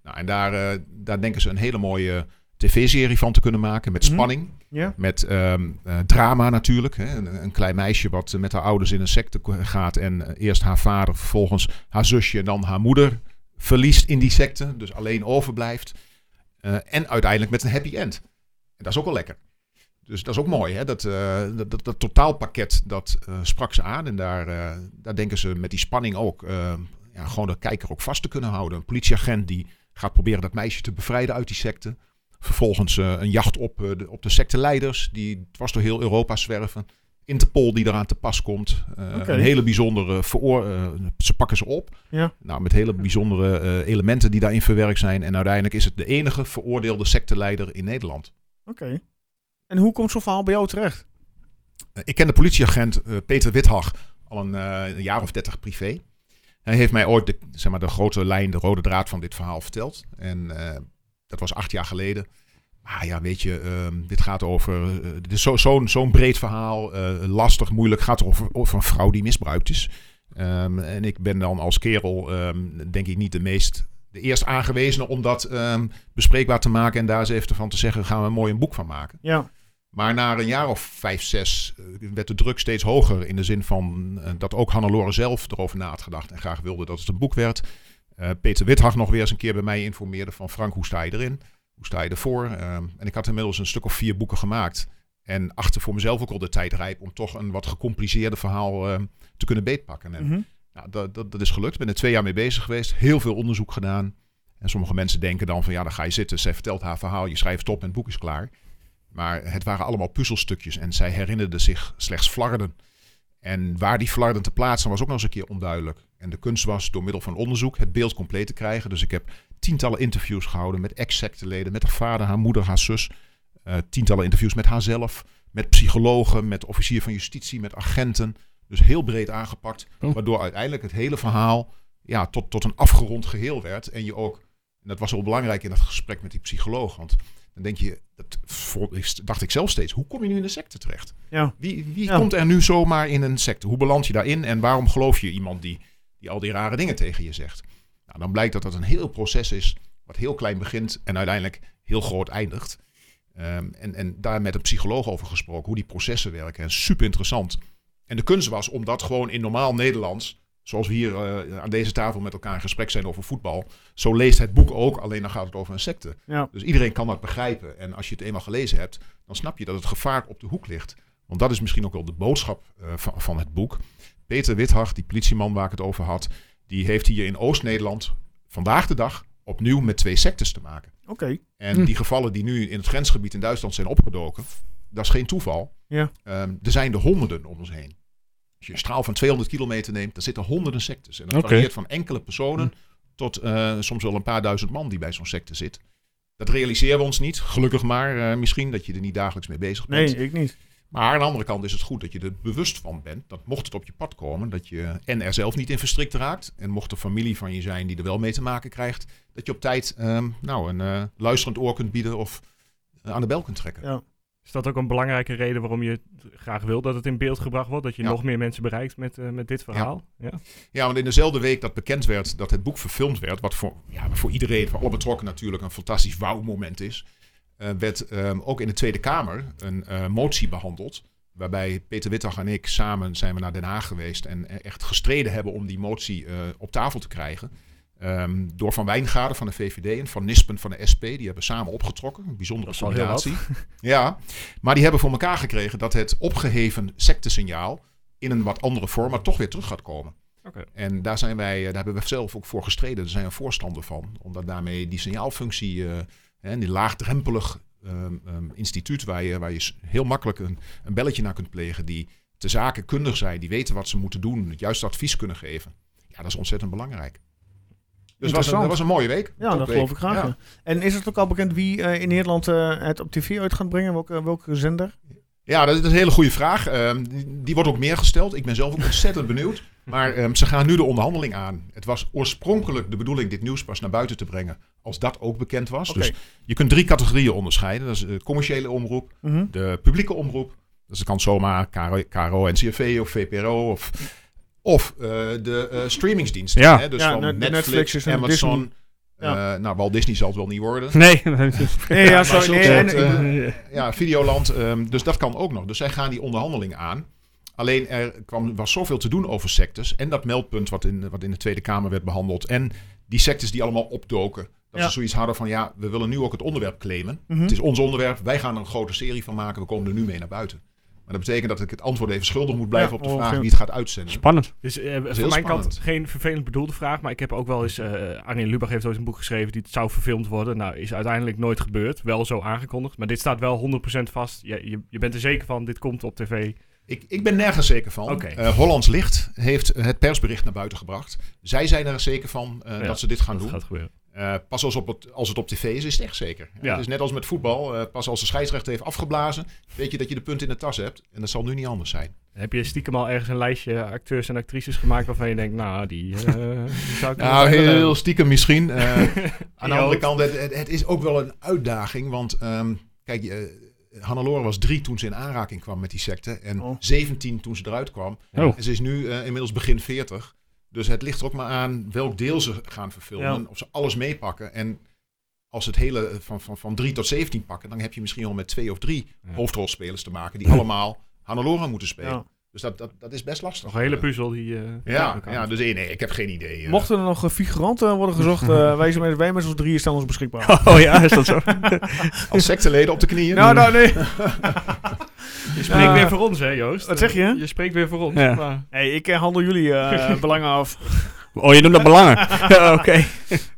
Nou, en daar, eh, daar denken ze een hele mooie eh, tv-serie van te kunnen maken. Met
Mhm.
spanning,
Ja,
met ehm, eh, drama natuurlijk. Hè? Een, een klein meisje wat eh, met haar ouders in een secte ko- gaat. En eh, eerst haar vader, vervolgens haar zusje en dan haar moeder verliest in die secte. Dus alleen overblijft. Eh, en uiteindelijk met een happy end. En dat is ook wel lekker. Dus dat is ook mooi. Hè? Dat, eh, dat, dat, dat totaalpakket dat eh, sprak ze aan. En daar, eh, daar denken ze met die spanning ook. eh, ja, gewoon de kijker ook vast te kunnen houden. Een politieagent die gaat proberen dat meisje te bevrijden uit die secte. Vervolgens eh, een jacht op, eh, de, op de secteleiders die dwars door heel Europa zwerven. Interpol die eraan te pas komt. Eh,
Oké.
Een hele bijzondere veroor... eh, ze pakken ze op.
Ja.
Nou, met hele bijzondere eh, elementen die daarin verwerkt zijn. En uiteindelijk is het de enige veroordeelde secteleider in Nederland.
oké. En hoe komt zo'n verhaal bij jou terecht?
Eh, Ik ken de politieagent eh, Peter Withag al een, eh, een jaar of dertig privé. Hij heeft mij ooit de, zeg maar, de grote lijn, de rode draad van dit verhaal verteld. En eh, dat was acht jaar geleden. Maar ja, weet je, ehm, dit gaat over... eh, dit is zo- zo'n zo'n breed verhaal, eh, lastig, moeilijk. gaat over, over een vrouw die misbruikt is. Ehm, en ik ben dan als kerel, ehm, denk ik, niet de meest. De eerst aangewezene om dat ehm, bespreekbaar te maken en daar eens even van te zeggen: gaan we mooi een boek van maken.
Ja,
Maar na een jaar of vijf, zes eh, werd de druk steeds hoger. In de zin van eh, dat ook Hannelore zelf erover na had gedacht. En graag wilde dat het een boek werd. Eh, Peter Withag nog weer eens een keer bij mij informeerde van... Frank, hoe sta je erin? Hoe sta je ervoor? Ehm, en ik had inmiddels een stuk of vier boeken gemaakt. En achter voor mezelf ook al de tijd rijp... om toch een wat gecompliceerder verhaal ehm, te kunnen beetpakken. En
mhm.
nou, dat, dat, dat is gelukt. Ik ben er twee jaar mee bezig geweest. Heel veel onderzoek gedaan. En sommige mensen denken dan van ja, dan ga je zitten. Zij vertelt haar verhaal, je schrijft het op en het boek is klaar. Maar het waren allemaal puzzelstukjes. En zij herinnerde zich slechts flarden. En waar die flarden te plaatsen was ook nog eens een keer onduidelijk. En de kunst was door middel van onderzoek het beeld compleet te krijgen. Dus ik heb tientallen interviews gehouden met exacte leden. Met haar vader, haar moeder, haar zus. Eh, tientallen interviews met haarzelf. Met psychologen, met officier van justitie, met agenten. Dus heel breed aangepakt.
Oh.
Waardoor uiteindelijk het hele verhaal ja, tot, tot een afgerond geheel werd. En je ook, en dat was heel belangrijk in dat gesprek met die psycholoog. Want dan denk je, dat vo- is- dacht ik zelf steeds, hoe kom je nu in de secte terecht?
ja.
Wie, wie
Ja.
komt er nu zomaar in een secte? Hoe beland je daarin en waarom geloof je iemand die, die al die rare dingen tegen je zegt? Nou, dan blijkt dat dat een heel proces is, wat heel klein begint en uiteindelijk heel groot eindigt. Ehm, en, en daar met een psycholoog over gesproken, hoe die processen werken. En super interessant. En de kunst was om dat gewoon in normaal Nederlands, zoals we hier eh, aan deze tafel met elkaar in gesprek zijn over voetbal, zo leest het boek ook, alleen dan gaat het over een secte.
Ja.
Dus iedereen kan dat begrijpen. En als je het eenmaal gelezen hebt, dan snap je dat het gevaar op de hoek ligt. Want dat is misschien ook wel de boodschap eh, van, van het boek. Peter Withag, die politieman waar ik het over had, die heeft hier in Oost-Nederland vandaag de dag opnieuw met twee sectes te maken.
Oké.
En
Hm.
die gevallen die nu in het grensgebied in Duitsland zijn opgedoken, dat is geen toeval.
Ja.
Ehm, er zijn er honderden om ons heen. Als je een straal van 200 kilometer neemt, dan zitten honderden sectes. En dat
Oké.
varieert van enkele personen tot eh, soms wel een paar duizend man die bij zo'n secte zit. Dat realiseren we ons niet. Gelukkig maar eh, misschien dat je er niet dagelijks mee bezig bent.
Nee, ik niet.
Maar aan de andere kant is het goed dat je er bewust van bent. Dat mocht het op je pad komen, dat je en er zelf niet in verstrikt raakt. En mocht er familie van je zijn die er wel mee te maken krijgt. Dat je op tijd ehm, nou, een eh, luisterend oor kunt bieden of eh, aan de bel kunt trekken.
Ja.
Is dat ook een belangrijke reden waarom je het graag wil dat het in beeld gebracht wordt? Dat je
Ja.
nog meer mensen bereikt met, eh, met dit verhaal? Ja.
Ja, want in dezelfde week dat bekend werd dat het boek verfilmd werd, wat voor, ja, voor iedereen, voor alle betrokkenen natuurlijk een fantastisch wauw-moment is, eh, werd ehm, ook in de Tweede Kamer een eh, motie behandeld. Waarbij Peter Wittag en ik samen zijn we naar Den Haag geweest en e- echt gestreden hebben om die motie eh, op tafel te krijgen. Ehm, door Van Wijngaarden van de VVD en Van Nispen van de SP. Die hebben samen opgetrokken. Een bijzondere
Dat is wel heel wat.
combinatie. Ja, maar die hebben voor elkaar gekregen dat het opgeheven sectesignaal in een wat andere vorm, maar toch weer terug gaat komen.
Oké.
En daar, zijn wij, eh, daar hebben we zelf ook voor gestreden. Daar zijn we voorstander van. Omdat daarmee die signaalfunctie eh, hè, en die laagdrempelig ehm, ehm, instituut waar je, waar je s- heel makkelijk een, een belletje naar kunt plegen. Die te zaken kundig zijn, die weten wat ze moeten doen. Het juiste advies kunnen geven. Ja, dat is ontzettend belangrijk. Dus het was
Interessant.
een, dat was een mooie week.
Ja, dat
Topweek.
geloof ik graag.
Ja.
ja. En is het ook al bekend wie eh, in Nederland eh, het op tv uit gaat brengen? Welke, welke zender?
Ja, dat is een hele goede vraag. Ehm, die, die wordt ook meer gesteld. Ik ben zelf ook ontzettend benieuwd. Maar ehm, ze gaan nu de onderhandeling aan. Het was oorspronkelijk de bedoeling dit nieuws pas naar buiten te brengen. Als dat ook bekend was.
Oké.
Dus je kunt drie categorieën onderscheiden. Dat is de commerciële omroep,
Mhm.
de publieke omroep. Dus dat kan zomaar KRO, KRO en CRV of VPRO of, of eh, de eh, streamingsdiensten.
Ja.
Hè? Dus
Ja,
van
net-
Netflix,
Netflix is en
Amazon.
Disney. Ja.
eh, nou, Walt Disney zal het wel niet worden.
Nee, dat heb ik niet.
Nee, ja, sorry.
zulke
nee,
soort,
en-
eh, ja, Videoland. ehm, dus dat kan ook nog. Dus zij gaan die onderhandeling aan. Alleen er kwam, was zoveel te doen over sectes. En dat meldpunt wat in, wat in de Tweede Kamer werd behandeld. En die sectes die allemaal opdoken. Dat
Ja.
ze zoiets hadden van ja, we willen nu ook het onderwerp claimen.
Mhm.
Het is ons onderwerp. Wij gaan er een grote serie van maken. We komen er nu mee naar buiten. Maar dat betekent dat ik het antwoord even schuldig moet blijven
Ja,
op de
ongeveer.
vraag wie het gaat uitzenden.
Spannend.
Dus eh, van mijn
heel
kant
spannend.
geen vervelend bedoelde vraag, maar ik heb ook wel eens... eh Arjen Lubach heeft ooit een boek geschreven die het zou verfilmd worden. Nou, is uiteindelijk nooit gebeurd. Wel zo aangekondigd. Maar dit staat wel 100% vast. Je, je, je bent er zeker van, dit komt op
Eh,
tv. Nou
Ik, ik ben nergens zeker van.
Oké.
Eh, Hollands Licht heeft het persbericht naar buiten gebracht. Zij zijn er zeker van eh,
Ja,
dat ze dit gaan
Dat
doen.
gaat gebeuren.
Eh, pas als, op het, als het op tv is, is het echt zeker.
Ja.
Het is net als met voetbal. eh, pas als de scheidsrechter heeft afgeblazen, weet je dat je de punten in de tas hebt. En dat zal nu niet anders zijn.
Heb je stiekem al ergens een lijstje acteurs en actrices gemaakt waarvan je denkt, nou, die, eh, die zou ik nog
Nou,
wel willen.
heel stiekem misschien. eh, aan de
Ja,
andere
ook.
kant, het, het, het is ook wel een uitdaging. Want ehm, kijk, je, eh, Hannelore was drie toen ze in aanraking kwam met die secte. En
Oh.
17 toen ze eruit kwam.
Oh.
En ze is nu eh, inmiddels begin 40. Dus het ligt er ook maar aan welk deel ze gaan verfilmen.
Ja.
Of ze alles meepakken. En als ze het hele eh, van, van, van 3 tot 17 pakken, dan heb je misschien al met twee of drie
Ja.
hoofdrolspelers te maken. die allemaal Hannelore moeten spelen.
Ja.
Dus dat, dat, dat is best lastig.
Nog een hele
Eh,
puzzel die... eh,
Ja,
elkaar-
ja dus eh, nee, ik heb geen idee. eh.
Mochten er nog eh, figuranten worden gezocht, eh, wij, zijn met, wij met ons drieën staan ons beschikbaar.
Oh ja, is dat zo?
Als secteleden op de knieën.
nou, nou, nee.
Je spreekt
Ja.
weer voor ons, hè Joost?
Wat zeg je?
Eh, Je spreekt weer voor ons.
Ja.
Maar...
Hey, ik eh, handel jullie eh, belangen af.
Oh, je noemt dat belangen. Ja, Oké.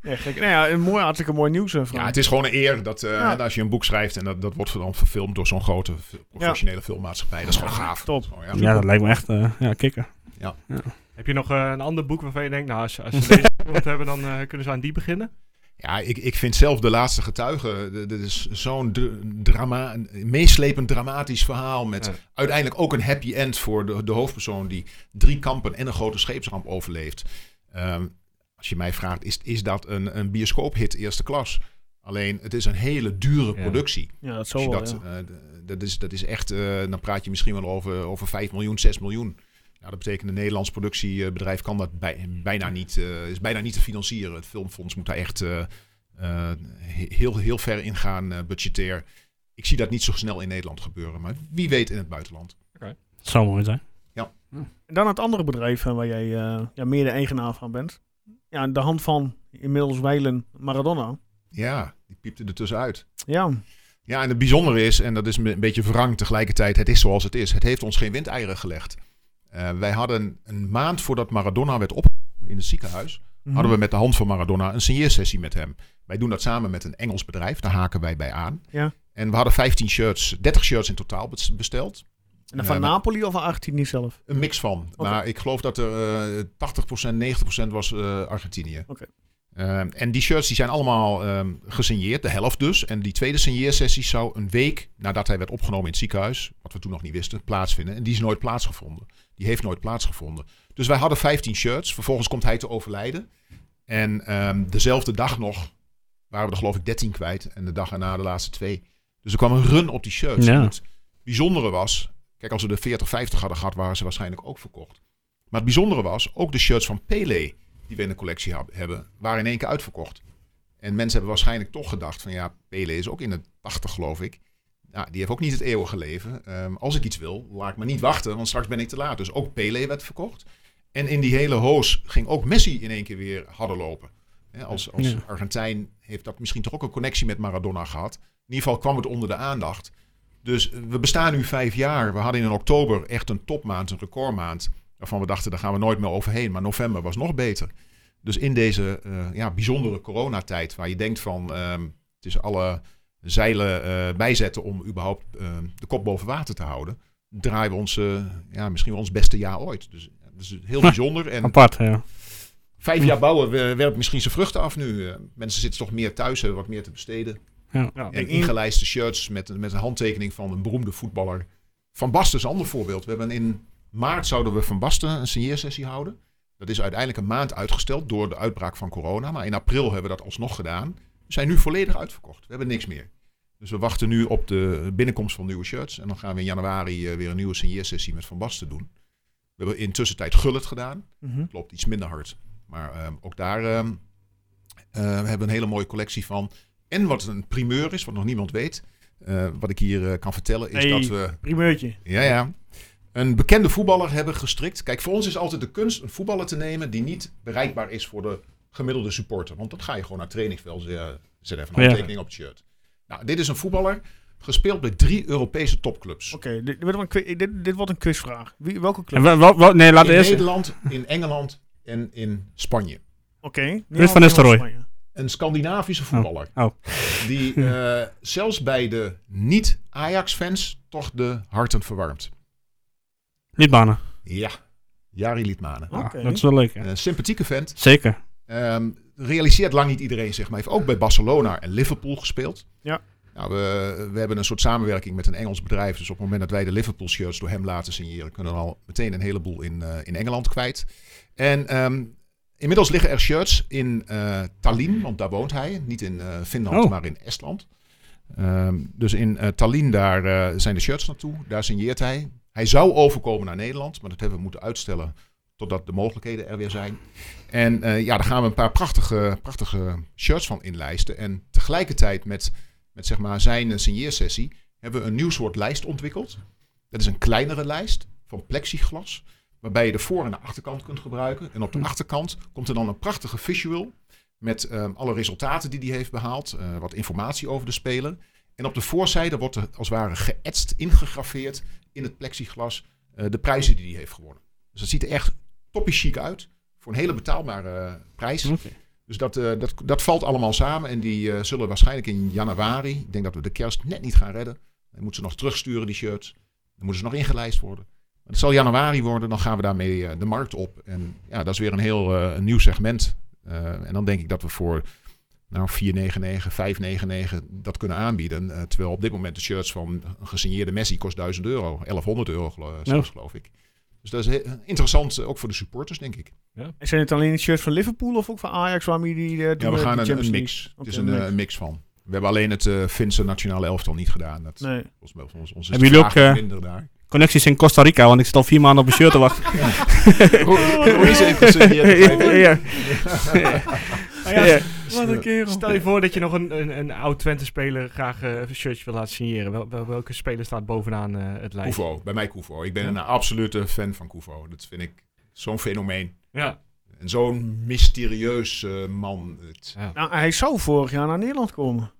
Ja, gek. Nou ja, een mooi, hartstikke mooi nieuws. eh, Frank.
Ja, het is gewoon een eer dat eh,
Ja.
dat als je een boek schrijft en dat, dat wordt dan verfilmd door zo'n grote v- professionele filmmaatschappij. Dat is gewoon gaaf.
top.
Zo, ja.
Ja, dat lijkt me echt eh, ja, kicken.
Heb je nog eh, een ander boek waarvan je denkt, nou, als, als ze deze gehoord hebben, dan eh, kunnen ze aan die beginnen?
Ja, ik, ik vind zelf De Laatste Getuige, d- dit is zo'n dr- drama, een meeslepend dramatisch verhaal met
Ja.
uiteindelijk ook een happy end voor de, de hoofdpersoon die drie kampen en een grote scheepsramp overleeft. Ehm, als je mij vraagt, is, is dat een, een bioscoophit eerste klas? Alleen, het is een hele dure
Ja.
productie.
Ja, dat
Als
zal
je
wel.
dat,
ja.
eh, d- dat, is, dat is echt, eh, dan praat je misschien wel over, over 5 miljoen, 6 miljoen. Ja, dat betekent een Nederlands productiebedrijf kan dat bij, bijna niet, eh, is bijna niet te financieren. Het filmfonds moet daar echt eh, eh, he- heel, heel ver in gaan, eh, budgetair. Ik zie dat niet zo snel in Nederland gebeuren, maar wie weet in het buitenland.
Dat zou mooi zijn.
En dan het andere bedrijf eh, waar jij eh, ja, meer de eigenaar van bent. Ja, de hand van inmiddels wijlen Maradona.
Ja, die piepte er tussenuit.
Ja, Mhm.
Ja, en het bijzondere is, en dat is een beetje wrang tegelijkertijd, het is zoals het is. Het heeft ons geen windeieren gelegd. Eh, wij hadden een maand voordat Maradona werd opgenomen in het ziekenhuis,
Mhm.
hadden we met de hand van Maradona een signeersessie met hem. Wij doen dat samen met een Engels bedrijf, daar haken wij bij aan.
Ja.
En we hadden 15 shirts, 30 shirts in totaal bes- besteld.
en dan van
Ja, maar-
Napoli of van Argentinië zelf?
Een mix van.
Oké.
Maar ik geloof dat er eh 80%, 90% was eh, Argentinië.
Oké.
Ehm, en die shirts die zijn allemaal ehm, gesigneerd, de helft dus. En die tweede signeersessie zou een week nadat hij werd opgenomen in het ziekenhuis, wat we toen nog niet wisten, plaatsvinden. En die is nooit plaatsgevonden. Die heeft nooit plaatsgevonden. Dus wij hadden 15 shirts. Vervolgens komt hij te overlijden. En ehm, dezelfde dag nog waren we er geloof ik 13 kwijt. En de dag erna de laatste twee. Dus er kwam een run op die shirts.
Ja.
En Het bijzondere was, kijk als we de 40, 50 hadden gehad, waren ze waarschijnlijk ook verkocht. Maar het bijzondere was, ook de shirts van Pele die we in de collectie hab- hebben, waren in één keer uitverkocht. En mensen hebben waarschijnlijk toch gedacht van ja, Pele is ook in de 80 geloof ik. Nou, die heeft ook niet het eeuwige leven. Ehm, als ik iets wil, laat ik me niet wachten, want straks ben ik te laat. Dus ook Pele werd verkocht. En in die hele hoos ging ook Messi in één keer weer hadden lopen. Hè, als als
Ja.
Argentijn heeft dat misschien toch ook een connectie met Maradona gehad. In ieder geval kwam het onder de aandacht. Dus eh, we bestaan nu vijf jaar. We hadden in oktober echt een topmaand, een recordmaand. Waarvan we dachten, daar gaan we nooit meer overheen. Maar november was nog beter. Dus in deze eh, ja, bijzondere coronatijd, waar je denkt van ehm, het is alle zeilen eh, bijzetten om überhaupt ehm, de kop boven water te houden, draaien we ons, eh, ja, misschien wel ons beste jaar ooit. Dus eh, dat is heel bijzonder. En
Apart, ja.
vijf jaar bouwen eh, werpt misschien zijn vruchten af nu. Eh, mensen zitten toch meer thuis, hebben wat meer te besteden.
Ja.
En ingelijste shirts met, een- met een handtekening van een beroemde voetballer. Van Basten is een ander voorbeeld. We hebben in maart zouden we Van Basten een signeersessie houden. Dat is uiteindelijk een maand uitgesteld door de uitbraak van corona. Maar in april hebben we dat alsnog gedaan. We zijn nu volledig uitverkocht. We hebben niks meer. Dus we wachten nu op de binnenkomst van nieuwe shirts. En dan gaan we in januari eh, weer een nieuwe signeersessie met Van Basten doen. We hebben intussen tijd Gullit gedaan
Mhm.
klopt, iets minder hard. Maar ehm, ook daar ehm, eh, we hebben een hele mooie collectie van. En wat een primeur is, wat nog niemand weet. eh, wat ik hier eh, kan vertellen is
Hey.
dat we
Primeurtje.
ja, ja, een bekende voetballer hebben gestrikt. Kijk, voor ons is altijd de kunst een voetballer te nemen die niet bereikbaar is voor de gemiddelde supporter. Want dat ga je gewoon naar het trainingsveld. eh, Zet even
Ja.
een handtekening op het shirt. Nou, dit is een voetballer gespeeld bij drie Europese topclubs.
Oké, dit, dit wordt een qui- dit, dit wordt een quizvraag. Wie, welke club?
En wa- wa- wa- nee, laat
in
eerst.
Nederland, in Engeland en in Spanje.
Oké.
Ruud van Nistelrooy.
Spanje.
Een Scandinavische voetballer.
Oh.
die eh, zelfs bij de niet-Ajax-fans toch de harten verwarmt.
Liedbanen.
Ja, Jari Liedmanen.
Oké.
Ah, dat is wel leuk. ja.
Een sympathieke vent.
Zeker.
Ehm, realiseert lang niet iedereen zich, maar heeft ook bij Barcelona en Liverpool gespeeld.
Ja.
Nou, we, we hebben een soort samenwerking met een Engels bedrijf. Dus op het moment dat wij de Liverpool shirts door hem laten signeren, kunnen we al meteen een heleboel in, eh, in Engeland kwijt. En ehm, inmiddels liggen er shirts in eh Tallinn, want daar woont hij. Niet in eh, Finland,
Oh.
maar in Estland. Ehm, dus in eh Tallinn daar eh, zijn de shirts naartoe. Daar signeert hij. Hij zou overkomen naar Nederland, maar dat hebben we moeten uitstellen totdat de mogelijkheden er weer zijn. En eh, ja, daar gaan we een paar prachtige, prachtige shirts van inlijsten. En tegelijkertijd met, met zeg maar zijn eh, signeersessie hebben we een nieuw soort lijst ontwikkeld. Dat is een kleinere lijst van plexiglas, waarbij je de voor- en de achterkant kunt gebruiken. En op de achterkant komt er dan een prachtige visual met eh, alle resultaten die die heeft behaald, eh, wat informatie over de speler. En op de voorzijde wordt er als het ware geëtst, ingegraveerd in het plexiglas eh, de prijzen die hij heeft gewonnen. Dus dat ziet er echt toppie chic uit voor een hele betaalbare eh, prijs. Dus dat, eh, dat, dat valt allemaal samen en die eh, zullen waarschijnlijk in januari, ik denk dat we de kerst net niet gaan redden. Dan moeten ze nog terugsturen, die shirts. Dan moeten ze nog ingelijst worden. Maar Het zal januari worden, dan gaan we daarmee eh, de markt op. En ja, dat is weer een heel eh, een nieuw segment. Eh, en dan denk ik dat we voor nou, 499, 599 dat kunnen aanbieden. Eh, terwijl op dit moment de shirts van een gesigneerde Messi kost 1000 euro. 1100 euro gelo- eh, zelfs, geloof ik. Dus dat is he- interessant, eh, ook voor de supporters, denk ik.
En zijn het alleen de shirts van Liverpool of ook van Ajax waarmee die eh, doen,
Ja, we
eh,
gaan
de
een,
Champions
een
League?
mix.
Oké,
het is een,
een
eh,
mix.
een mix van. We hebben alleen het eh Finse nationale elftal niet gedaan. Dat,
Nee.
volgens mij, volgens ons is
Hebben
het
jullie ook,
vaag
eh,
minder daar.
Connecties in Costa Rica, want ik zit al vier maanden op een shirt te wachten.
Ru- Ruiz heeft gesigneerd.
ja.
ja,
Ja.
Wat een kerel.
Stel je voor dat je nog een, een, een oud Twente-speler graag eh, een shirtje wil laten signeren. Wel- wel- welke speler staat bovenaan eh, het lijstje?
Koevo, bij mij Koevo. Ik ben een absolute fan van Koevo. Dat vind ik zo'n fenomeen.
Ja.
En zo'n mysterieus eh, man. Het-
Nou, hij zou vorig jaar naar Nederland komen.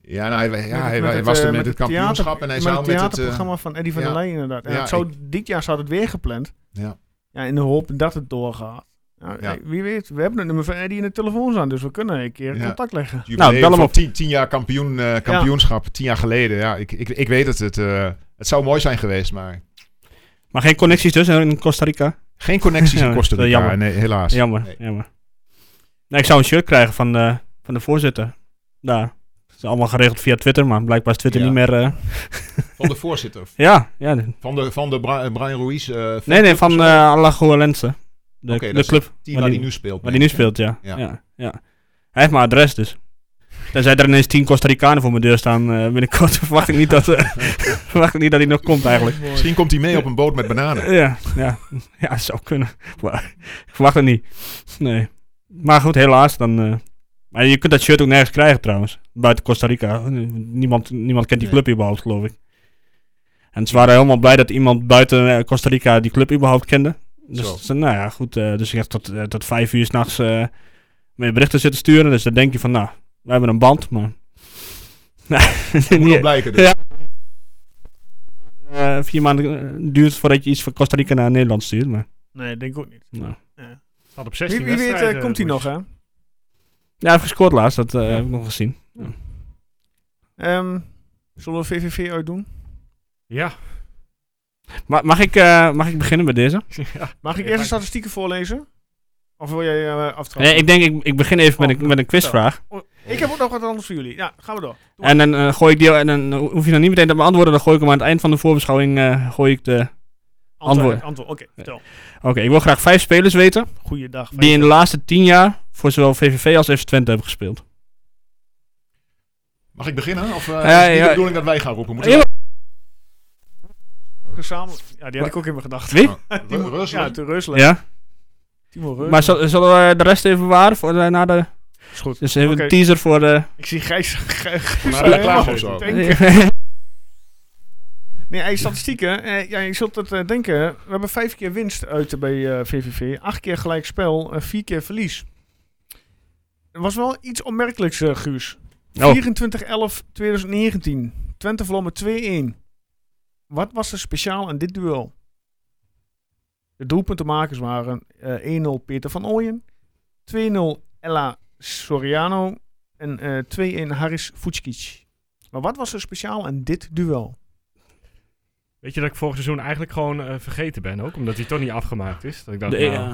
ja, nou, hij, ja, hij,
Met
hij
het,
was
eh,
er met, het
theater-
kampioenschap en hij
met
zou
het
met het... eh,
theaterprogramma van Eddie van der
ja.
Leyen inderdaad. En
Ja,
het zou, Dit jaar staat het weer gepland.
Ja.
Ja, in de hoop dat het doorgaat. Nou,
Ja.
eh, Wie weet, we hebben het nummer van Eddie in de telefoon aan, dus we kunnen een keer
Ja.
contact leggen.
jubileum
Nou, bel hem
van
op.
Tien, tien jaar kampioen, eh, kampioenschap, tien jaar geleden. Ja, ik, ik, ik weet het. Het, eh, het zou mooi zijn geweest, maar
Maar geen connecties dus in Costa Rica?
geen connecties
Ja,
in Costa
dat is eh,
Rica.
jammer.
Nee, helaas.
Jammer,
Nee.
jammer. Nou, ik zou een shirt krijgen van de, van de voorzitter. Daar. Het is allemaal geregeld via Twitter, maar blijkbaar is Twitter
Ja.
niet meer... eh,
Van de voorzitter.
ja, ja. de-
Van de, van de Bra- eh, Brian Ruiz. eh, fan
Nee, nee,
club
van
of
eh
zo?
Alagoalense. De,
Oké, dat
de
is
club
Die
waar
waar hij
die-
nu speelt.
waar
denk
hij nu
ik, hè?
speelt, ja.
Ja.
Ja. Ja, Hij heeft mijn adres dus. Tenzij er ineens tien Costa Ricanen voor mijn deur staan eh binnenkort, verwacht ik niet dat, eh, verwacht ik niet dat hij nog komt eigenlijk.
Misschien komt hij mee op een boot met bananen.
Ja, ja, ja, zou kunnen. Maar ik verwacht het niet. Nee. Maar goed, helaas dan. eh, maar je kunt dat shirt ook nergens krijgen trouwens. Buiten Costa Rica. Niemand, niemand kent die
Nee.
club überhaupt, geloof ik. En ze waren helemaal blij dat iemand buiten eh, Costa Rica die club überhaupt kende.
Zo.
Dus ze- nou ja, goed. eh, dus ik heb tot, eh, tot vijf uur s'nachts eh met berichten zitten sturen. Dus dan denk je van, nou, we hebben een band, maar. Nou,
Moet
niet-
nog blijken dus.
Ja. eh, vier maanden eh, duurt voordat je iets van Costa Rica naar Nederland stuurt. Maar,
Nee, denk ik ook niet.
nou.
Staat op
Wie,
16
wie weet eh,
wedstrijden,
komt hij
Roes.
nog, hè?
Ja, hij heeft gescoord laatst, dat eh, heb ik nog gezien.
Ehm, zullen we VVV uitdoen?
Ja.
Ma mag, ik, eh, mag ik beginnen met deze?
ja.
Mag ik eerst de
Ja, dank.
statistieken voorlezen? Of wil jij eh aftrappen? Oh,
Nee, ik denk, ik, ik begin even met een, met een quizvraag.
Ik heb ook nog wat anders voor jullie. Ja, gaan we door.
En dan eh, gooi ik die, en dan hoef je dan niet meteen te beantwoorden, dan gooi ik hem aan het eind van de voorbeschouwing, eh, gooi ik de... Antwoord.
Antwoord, oké. vertel.
Oké, ik wil graag vijf spelers weten,
Goeiedag.
die in de laatste tien jaar voor zowel VVV als FC Twente hebben gespeeld.
Mag ik beginnen? Of eh,
Ja,
is het niet
ja.
de bedoeling dat wij gaan roepen? Moeten
Ja,
we...
Gezamenlijk- Ja, die had ik ook in mijn gedachten.
Wie?
Ru- Rus,
Ja,
Rus.
te Rusland.
Ja,
Timo Reus.
maar zal- zullen we de rest even bewaren voor eh, na de...
is goed.
Dus even
Oké.
een teaser voor de...
Ik zie Gijs. Gijs-
Maar dat klaar
Ja,
of zo.
denk- Nee, hey, statistieken. eh, ja, je zult het eh, denken. We hebben vijf keer winst uit eh, bij eh, VVV. Acht keer gelijk spel. eh, vier keer verlies. Er was wel iets opmerkelijks, eh, Guus.
Oh.
24-11-2019. Twente verloor met 2-1. Wat was er speciaal aan dit duel? De doelpuntenmakers waren eh, 1-0 Peter van Ooyen, 2-0 Ella Soriano en eh 2-1 Haris Fucic. Maar wat was er speciaal aan dit duel?
Weet je dat ik vorig seizoen eigenlijk gewoon eh, vergeten ben ook? Omdat hij toch niet afgemaakt is. Dat ik dacht,
de
nou,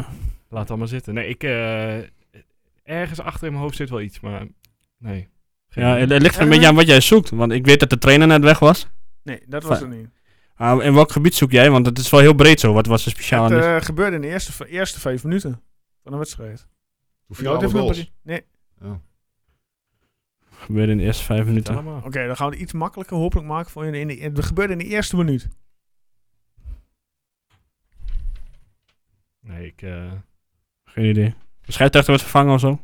laat het allemaal zitten. Nee, ik... eh, ergens achter in mijn hoofd zit wel iets, maar... Nee. Geen
ja,
idee.
het, het ligt er een beetje aan wat jij zoekt, want ik weet dat de trainer net weg was.
Nee, dat was
Fijn.
het niet.
Ah, in welk gebied zoek jij? Want het is wel heel breed zo. Wat was er speciaal
Het
aan dit?
eh, gebeurde in de eerste, v- eerste vijf minuten van de wedstrijd.
Hoe
Ja,
viel alle
dit
goals?
gebeurde- Nee.
Oh.
Gebeurde in de eerste vijf minuten.
Allemaal.
Oké, dan gaan we het iets makkelijker hopelijk maken voor je. In de, het gebeurde in de eerste minuut.
Nee, ik... eh,
Geen idee. De scheidsrechter werd vervangen of zo.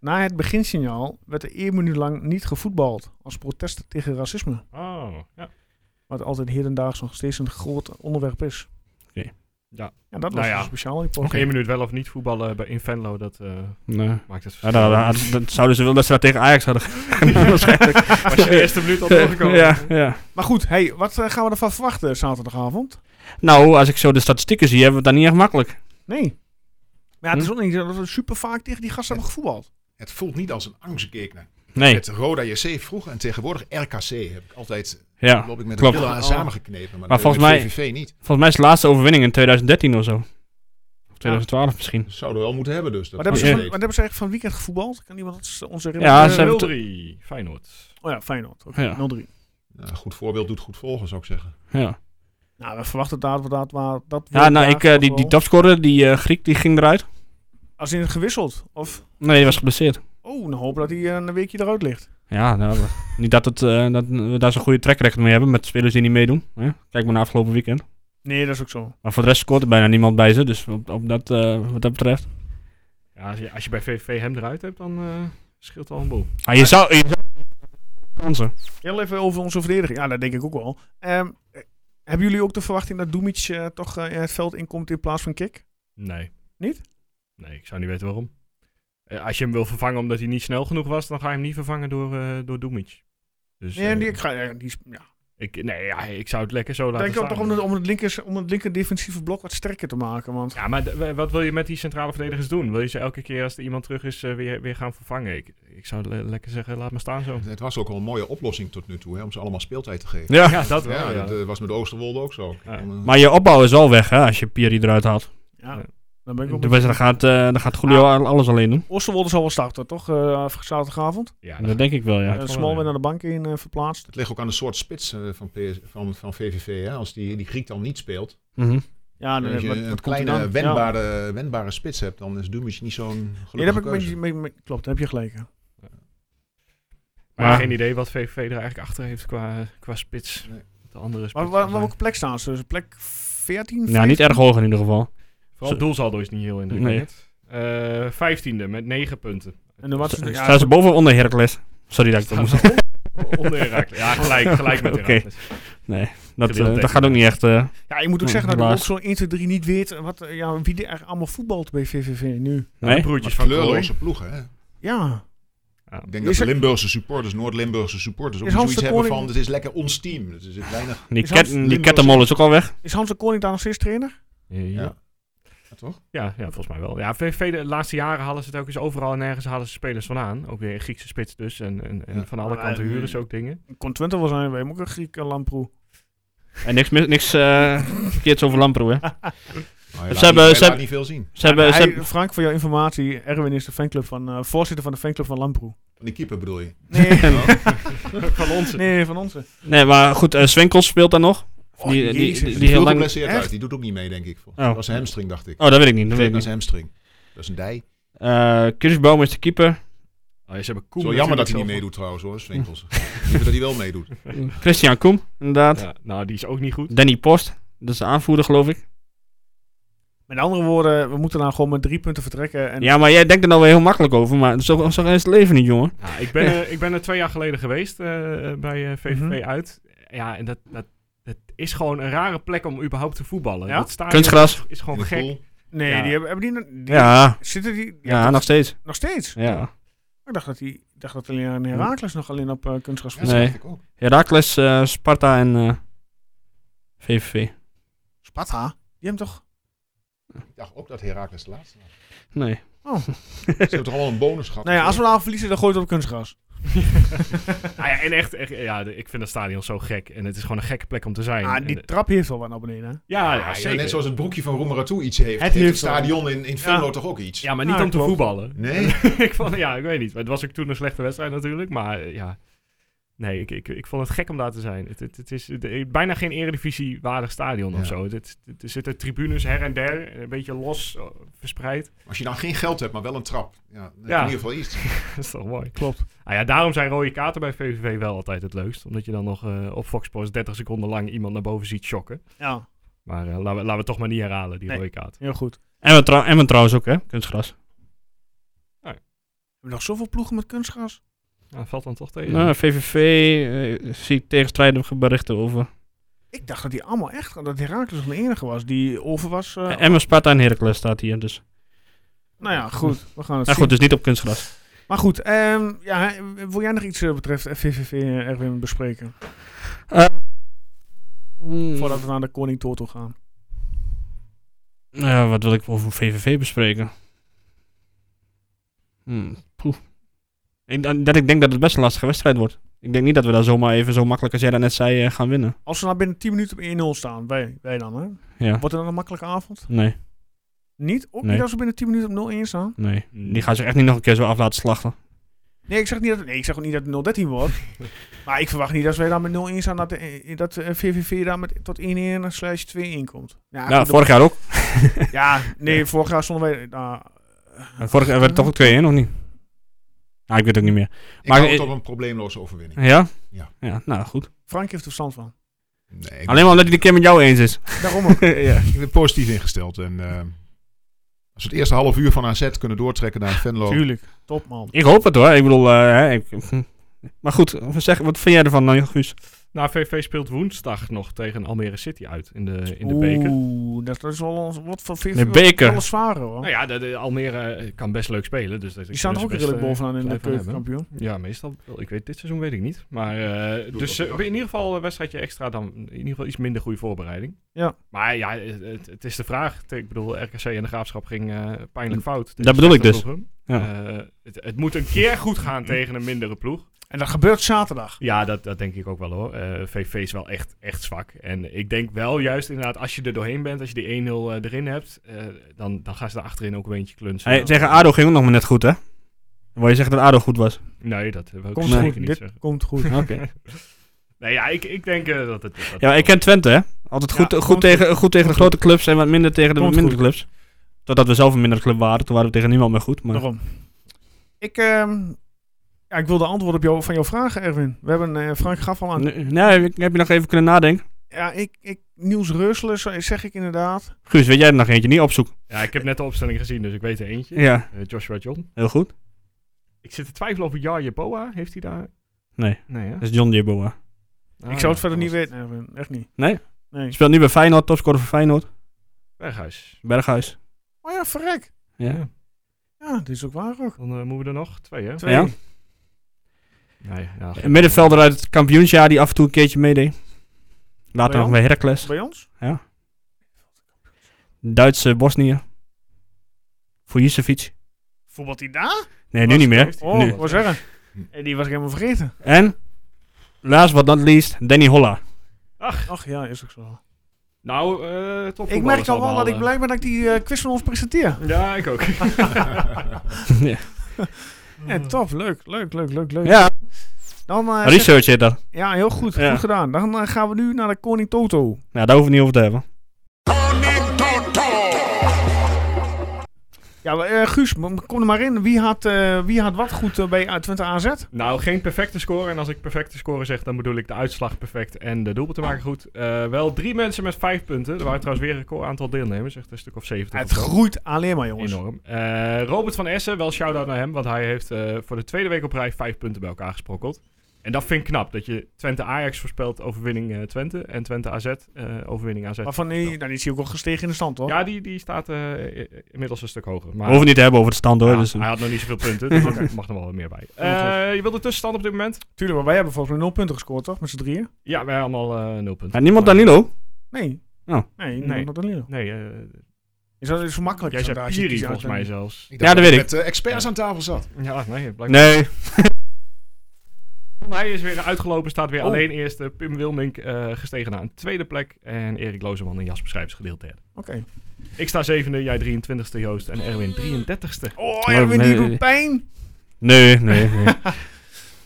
Na het beginsignaal werd er één minuut lang niet gevoetbald. Als protest tegen racisme.
oh, ja.
Wat altijd hedendaags nog steeds een groot onderwerp is.
Oké.
Ja.
Ja, dat was
Nou ja.
een speciaal die
Nog
podcast.
één minuut wel of niet voetballen bij in Venlo, dat eh,
Nee.
maakt het
Ja, nou,
verschil.
dat, dat- dat zouden ze willen dat ze dat tegen Ajax hadden gedaan. waarschijnlijk.
Was je de eerste minuut al doorgekomen?
Ja, ja.
Maar goed, hey, wat eh, gaan we ervan verwachten zaterdagavond?
Nou, als ik zo de statistieken zie, hebben we het dan niet echt makkelijk.
Nee. Maar ja, het is
Hm?
ook niet zo dat we super vaak tegen die gasten hebben gevoetbald.
Het voelt niet als een angstgekner.
Nee,
Met Roda JC vroeger en tegenwoordig RKC heb ik altijd
ja.
loop ik met de
klopt.
billen aan
Oh.
samengeknepen. Maar,
Maar
dat
volgens
deed
mij-
VVV niet.
Volgens mij is de laatste overwinning in 2013 of zo. Of 2012 misschien.
Dat zouden we wel moeten hebben dus. Dat
Wat hebben, ze
Ja.
van, wat hebben ze eigenlijk van weekend gevoetbald? Kan iemand dat is onze
Ja,
herinneren?
ze hebben-
0-3, Eh, Feyenoord.
Oh ja, Feyenoord. Oké,
Ja.
0-3.
Ja, Nou, goed voorbeeld doet goed volgen, zou ik zeggen.
Ja,
Nou, we verwachten dat we dat maar dat
ja
wordt
nou,
daar
ik, eh,
toch
die,
wel-
die topscorer, die eh, Griek, die ging eruit.
Als in gewisseld. Of,
Nee, die was geblesseerd.
oh, dan hopen dat hij eh, een weekje eruit ligt.
Ja, nou, we- niet dat, het, eh, dat we daar zo'n goede track record mee hebben met spelers die niet meedoen. Hè? Kijk maar naar afgelopen weekend.
Nee, dat is ook zo.
Maar voor de rest scoort er bijna niemand bij ze, dus op, op dat, eh, wat dat betreft.
Ja, als je, als je bij VVV hem eruit hebt, dan eh, scheelt al een boel.
Ah, je zou... Je zou kansen.
Heel even over onze verdediging. Ja, dat denk ik ook wel. Ehm, eh, hebben jullie ook de verwachting dat Doemic eh, toch eh, het veld inkomt in plaats van Kik?
Nee.
Niet?
Nee, ik zou niet weten waarom. Eh, als je hem wil vervangen omdat hij niet snel genoeg was, dan ga je hem niet vervangen door, eh door Dumic. Dus,
Nee,
eh,
die, ik, ga, eh, die, is- ja.
ik, nee ja, ik zou het lekker zo laten
denk ook toch
staan.
om het, om, het linker, om het linker defensieve blok wat sterker te maken. Want
Ja, maar d- wa- wat wil je met die centrale verdedigers doen? Wil je ze elke keer als er iemand terug is eh, weer, weer gaan vervangen? Ik, ik zou le- lekker zeggen, laat maar staan zo.
Het was ook al een mooie oplossing tot nu toe, hè, om ze allemaal speeltijd te geven.
Ja.
Ja, dat wel.
Ja,
Ja,
dat eh, was met Oosterwolde ook zo.
Ja.
Dan, eh,
Maar je opbouw is wel weg, hè, als je Pieri eruit haalt.
ja,
Ja.
dan ben ik ook...
Dan dan gaat, eh, dan gaat Julio al- alles alleen doen.
Osterwolde zal wel starten, toch? eh, zaterdagavond.
Ja,
Dat denk ik wel, ja.
dat
Eh,
zal
Small
wel,
weer
ja.
naar de bank in eh, verplaatst.
Het ligt ook aan de soort spits eh, van, PS van, van VVV. Hè? Als die, die Griek dan niet speelt.
Mhm.
Ja, Ah, dan,
als je
wat- wat
een
komt hij
kleine
dan?
wendbare, wendbare spits hebt, dan is Dumic niet zo'n
Ja, daar
gelukkige
heb ik
keuze.
met, met, met- klopt, daar heb je gelijk. hè.
Maar
Maar-
geen idee wat VVV er eigenlijk achter heeft qua, eh, qua spits.
Nee.
De andere spits.
Maar waar, waar welke plek staan ze? Dus plek 14?
Ja, niet
15?
erg hoog in ieder geval.
Vooral het doelsaldo is niet heel indrukwekkend. Eh, Vijftiende met negen punten.
En dan wat
Sta-
ze, ja,
Staan ze boven of onder Heracles? Sorry dat ik dat
Staan
moest
ze on- onder Heracles. Ja, gelijk, gelijk met
Oké.
Heracles.
Dat, eh,
Gedeeld
dat
tegen.
gaat ook niet echt. eh,
ja, ik moet ook
Ja,
zeggen dat ik ook
helaas.
zo'n 1, 2, 3 niet weet wat, eh, ja, wie er echt allemaal voetbalt bij VVV nu.
nee?
Broertjes
Maar
van Krooi.
Kleurloze ploegen. Hè?
Ja,
Ik denk
Is
dat de
er-
Limburgse supporters, Noord-Limburgse supporters ook
Is Hans
zoiets
de
hebben
Koning-
van... Het is lekker ons team. Het is weinig...
Die,
Is
ket,
Hans
die
Limburg-
kettenmol is ook al weg.
is Hans de Koning daar nog steeds trainer?
Ja.
Ja. Ja, toch?
Ja, ja, volgens mij wel. Ja, VVV de laatste jaren halen ze het ook eens overal en nergens halen ze spelers vandaan. Ook weer Griekse spits dus. En, en, en
Ja.
van alle
Maar,
kanten
eh,
huren ze ook dingen.
Kon Twente wel zijn, wij hebben ook een Griek eh, Lamproe.
En niks, mis- niks eh, verkeerds over Lamproe, hè?
Nou, hij
hebben-
laat niet-
ze
hij laat
hebben-
niet veel zien.
Ze hebben. Ze
Hij-
hebben
Frank, voor jouw informatie, Erwin is de fanclub van, eh, voorzitter van de fanclub van Lamproe.
Van die keeper bedoel je.
Nee,
van ons.
nee van onze.
nee, maar goed, eh, Swenkels speelt dan nog.
Oh,
Die- die-
jezus,
die- die
die
heel
viel
lang-
geblesseerd
Echt?
uit. Die doet ook niet mee, denk ik.
Oh.
Dat was een hamstring, dacht ik.
Oh, dat weet ik niet. Dat
Dat
weet ik
was
niet.
een hamstring. Dat is een dij.
Eh, Kirschbaum is de keeper.
Oh, ja, ze hebben Koen
Zo jammer dat
natuurlijk
hij
zelf
niet meedoet trouwens hoor, Swinkels. Liever dat hij wel meedoet.
Christian Koem, inderdaad.
ook. Ja, nou, die is ook niet goed.
Danny Post, dat is de aanvoerder, geloof ik.
Met andere woorden, we moeten daar gewoon met drie punten vertrekken. En
Ja, maar jij denkt er nou weer heel makkelijk over, maar zo, zo is het leven niet, jongen.
Ja, ik, ben, eh, ik ben er twee jaar geleden geweest eh, eh, bij eh, VVV
Mhm.
uit. Ja, en dat, dat, dat is gewoon een rare plek om überhaupt te voetballen.
Ja?
Dat stadion
Kunstgras.
is
In
gewoon
de
gek.
pool.
nee,
Ja.
die hebben, hebben die, no- die-
Ah, Ja,
Zitten die ja,
ja,
toch-
nog steeds.
nog steeds?
Ja.
Ik dacht dat, die, ik dacht dat alleen aan Herakles nog alleen op eh kunstgras
Ja,
was.
dat
Nee.
dacht ik ook.
Heracles, eh, Sparta en eh, VVV.
Sparta? Die hebben toch...
Ik dacht ook dat Herakles de laatste was.
Nee.
Ze hebben toch allemaal een bonus gehad?
Nou ja, als we daar verliezen, dan gooit het op kunstgras.
Nou ja, en echt, echt ja, de- ik vind dat stadion zo gek. En het is gewoon een gekke plek om te zijn.
Ah,
En
die
de-
trap heeft wel wat naar beneden, hè?
ja,
Ja,
ja, zeker.
net zoals het broekje van Roemeratu iets heeft.
Het
Het, heeft het
liefst wel.
stadion in, in Venlo toch ook iets?
Ja, maar niet
Ja,
om te
klopt.
voetballen.
Nee?
ik vond, ja, ik weet niet. Maar het was ook toen een slechte wedstrijd natuurlijk. Maar eh, ja, Nee, ik, ik, ik vond het gek om daar te zijn. Het, het, het is de- bijna geen eredivisie-waardig stadion
Ja.
of zo. Het, het, het- er zitten tribunes her en der, een beetje los eh, verspreid.
Als je dan geen geld hebt, maar wel een trap. Ja, dan heb je
Ja.
in ieder geval iets.
Dat is toch mooi.
Klopt.
Nou ja, daarom zijn rode kaarten bij VVV wel altijd het leukst. Omdat je dan nog eh, op Fox Sports 30 seconden lang iemand naar boven ziet shocken.
Ja,
Maar eh, laten, we, laten we het toch maar niet herhalen, die
Nee.
rode kaart.
heel goed. We
En we, trou- en we trouwens ook, hè? Kunstgras.
hebben nog zoveel ploegen met kunstgras.
Nou, valt dan toch tegen.
Nou, VVV eh, zie ik tegenstrijdige berichten over.
Ik dacht dat die allemaal echt, dat Herakles de enige was die over was. eh,
En Emma, Sparta en Heracles staat hier, dus.
nou ja, goed. We gaan het
Nou
zien.
goed, dus niet op kunstgras.
Maar goed, ehm, ja, hè, wil jij nog iets eh, betreft VVV eh, Erwin bespreken?
Eh,
Voordat we naar de Koning Toto gaan.
Nou Ja, wat wil ik over VVV bespreken? Hmm, poeh. Ik, dat- dat ik denk dat het best een lastige wedstrijd wordt. Ik denk niet dat we daar zomaar even zo makkelijk als jij dat net zei eh, gaan winnen.
Als we nou binnen 10 minuten op 1-0 staan, wij, wij dan, hè?
Ja,
Wordt het dan een makkelijke avond?
nee,
Niet? Ook
Nee.
niet als we binnen 10 minuten op 0-1 staan?
nee. Die gaan zich echt niet nog een keer zo af laten slachten.
Nee, ik zeg, niet dat, nee, ik zeg ook niet dat het 0-13 wordt. maar ik verwacht niet dat wij daar met 0-1 staan, dat, de- eh, dat eh, VVV daar met, tot 1-1 slash 2-1 komt. Ja,
nou,
goed,
vorig jaar ook.
dat- ja nee, vorig jaar stonden wij... nou,
Vorig jaar werd het toch ook 2-1, of niet? Nou, ik weet het ook niet meer.
Ik
Maar-
hou het op een probleemloze overwinning.
Ja?
Ja.
Ja, nou goed.
Frank heeft er verstand van.
Nee, ik,
Alleen maar omdat hij de keer met jou eens is.
Daarom ook.
ja.
ik ben positief ingesteld. En, eh, als we het eerste half uur van AZ kunnen doortrekken naar Venlo.
Tuurlijk. Top, man.
Ik hoop het hoor. Ik bedoel, eh, hè, ik, maar goed, zeg, wat vind jij ervan, nou, Guus?
Nou, VVV speelt woensdag nog tegen Almere City uit in de, in de beker.
Oeh, dat is wel ons, wat voor VVV.
De beker.
Alles zware hoor.
Nou ja, de, de Almere eh, kan best leuk spelen. Dus dat
Die staan er ook redelijk bovenaan in de keukenkampioen.
Ja, meestal. wel. Ik weet dit seizoen weet ik niet. Maar eh,
het
dus
ook
eh,
wel.
in ieder geval een wedstrijdje extra dan in ieder geval iets minder goede voorbereiding.
Ja.
Maar ja, het, het is de vraag. Ik bedoel, RKC en de Graafschap ging eh, pijnlijk fout.
Dat bedoel ik dus. Ja.
Ja. Eh, het, het moet een keer goed gaan tegen een mindere ploeg.
En dat gebeurt zaterdag.
Ja, dat, dat denk ik ook wel hoor. Eh, VV is wel echt, echt zwak. En ik denk wel juist inderdaad, als je er doorheen bent, als je die 1-0 eh, erin hebt, eh, dan, dan gaan ze daar achterin ook een eentje klunsen.
Hey, tegen ADO ging het nog maar net goed, hè? Wil je zeggen dat ADO goed was?
Nee, dat wil ik
Komt
zeker
goed.
niet
Dit
zeggen.
komt goed.
Oké.
Nee, ja, ik, ik denk eh, dat het... dat
Ja,
het
ik ken Twente, hè? Altijd goed,
Ja,
goed,
komt
tegen, goed tegen de grote clubs en wat minder tegen de
Komt
wat mindere clubs. Totdat we zelf een mindere club waren, toen waren we tegen niemand meer goed. Maar...
Daarom. Ik, ehm ja, ik wilde antwoord op jou, van jouw vragen, Erwin. We hebben eh, Frank gaf al aan.
Nee, nee, ik- heb je nog even kunnen nadenken?
Ja, ik, ik, Niels Reusler, zo- zeg ik inderdaad.
Guus, weet jij er nog eentje? Niet opzoeken.
Ja, ik heb net de opstelling gezien, dus ik weet er eentje.
Ja,
Eh, Joshua John.
heel goed.
Ik zit te twijfelen over Jarje Boa. Heeft hij daar...
Nee.
Nee, hè?
Dat is John Jeboa.
Ah,
ik zou
ja,
het verder
dat
niet
was het.
weten, Erwin. Echt niet.
Nee?
Nee.
Speelt nu bij Feyenoord, topscorer voor Feyenoord.
eh, Berghuis.
Berghuis.
Oh ja, verrek.
Ja.
Ja, dit is ook waar ook.
Dan eh, moeten we er nog twee, hè?
Twee.
Ja.
Nee, ja, goed.
Een middenvelder uit het kampioensjaar die af en toe een keertje meedeed. Later
Leon?
nog bij Heracles.
Bij ons?
Duitse Bosnië. Fujicevic.
Voetbalt hij daar?
Nee, nu
Was
niet meer.
het
Oh,
Nu.
wat zeggen. En die was ik helemaal vergeten.
En, last but not least, Danny Holla.
Ach ja, is ook zo.
Nou, eh top.
Ik merk al wel dat ik blij ben dat ik die eh, quiz van ons presenteer.
Ja, ik ook.
ja.
Ja, tof. Leuk, leuk, leuk, leuk, leuk.
Ja,
Dan, eh, zeg-
research heet dat.
ja, heel goed.
Ja.
Goed gedaan. Dan eh, gaan we nu naar de Koning Toto.
Nou, daar hoeven we het niet over te hebben.
Ja, eh, Guus, m- kom er maar in. Wie had, eh, wie had wat goed eh, bij eh, Twente AZ?
nou, geen perfecte score. En als ik perfecte score zeg, dan bedoel ik de uitslag perfect en de doelpunten maken goed. Eh, wel drie mensen met vijf punten. Er waren trouwens weer een record aantal deelnemers. Echt een stuk of zeventig.
Het
of zo.
groeit alleen maar, jongens.
Enorm. Eh, Robert van Essen, wel shout-out naar hem, want hij heeft eh, voor de tweede week op rij vijf punten bij elkaar gesprokkeld. En dat vind ik knap, dat je Twente Ajax voorspelt overwinning eh, Twente en Twente AZ eh, overwinning AZ.
Maar van die, nou, die zie ik ook gestegen in de stand, hoor.
Ja, die, die staat eh, i- inmiddels een stuk hoger.
We
Maar
hoeven het niet te hebben over de stand hoor.
ja,
dus,
hij had nog niet zoveel punten, dus er mag nog wel wat meer bij. Eh, je wil de tussenstand op dit moment?
Tuurlijk, maar wij hebben volgens mij nul punten gescoord, toch? Met z'n drieën?
Ja, wij allemaal eh nul punten.
Maar niemand
Maar-
Danilo?
Nee.
Oh.
Nee,
Nee.
nee. Dat niet.
Nee, eh,
Is dat is makkelijk?
jij
zo
zei
daar, als je
Piri
kiest
volgens
uit
mij
een-
zelfs.
Ik
Ja, dat weet ik.
met eh, experts aan tafel zat.
Ja, nee, blijkbaar.
Nee.
Hij is weer uitgelopen, staat weer
Oh.
alleen eerste. Pim Wilmink eh, gestegen naar een tweede plek. En Erik Lozeman en Jasper Schrijvers gedeeld derde.
Oké.
Ik sta zevende, jij 23ste Joost en Erwin 33ste.
Oh, Erwin, die
nee.
doet pijn.
Nee, nee, nee.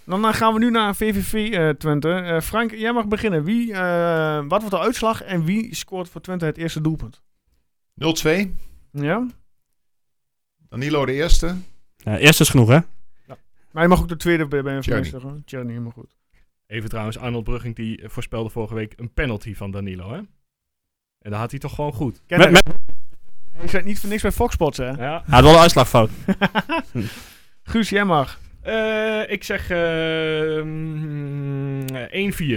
Dan eh, gaan we nu naar VVV eh, Twente. Eh, Frank, jij mag beginnen. Wie, eh, wat wordt de uitslag en wie scoort voor Twente het eerste doelpunt?
0-2.
Ja?
Danilo de eerste.
Ja, eerst is genoeg, hè?
Maar je mag ook de tweede bij bij een
Tjerny.
vermeester. hoor. Tjerny, helemaal goed.
Even trouwens, Arnold Brugging die voorspelde vorige week een penalty van Danilo, hè? En daar had hij toch gewoon goed.
Ken
Met,
hem.
met,
Je zit niet voor niks bij Fox Sports, hè?
Ja.
hij had wel een uitslagfout.
Guus, jij mag.
Eh, ik zeg eh, mm,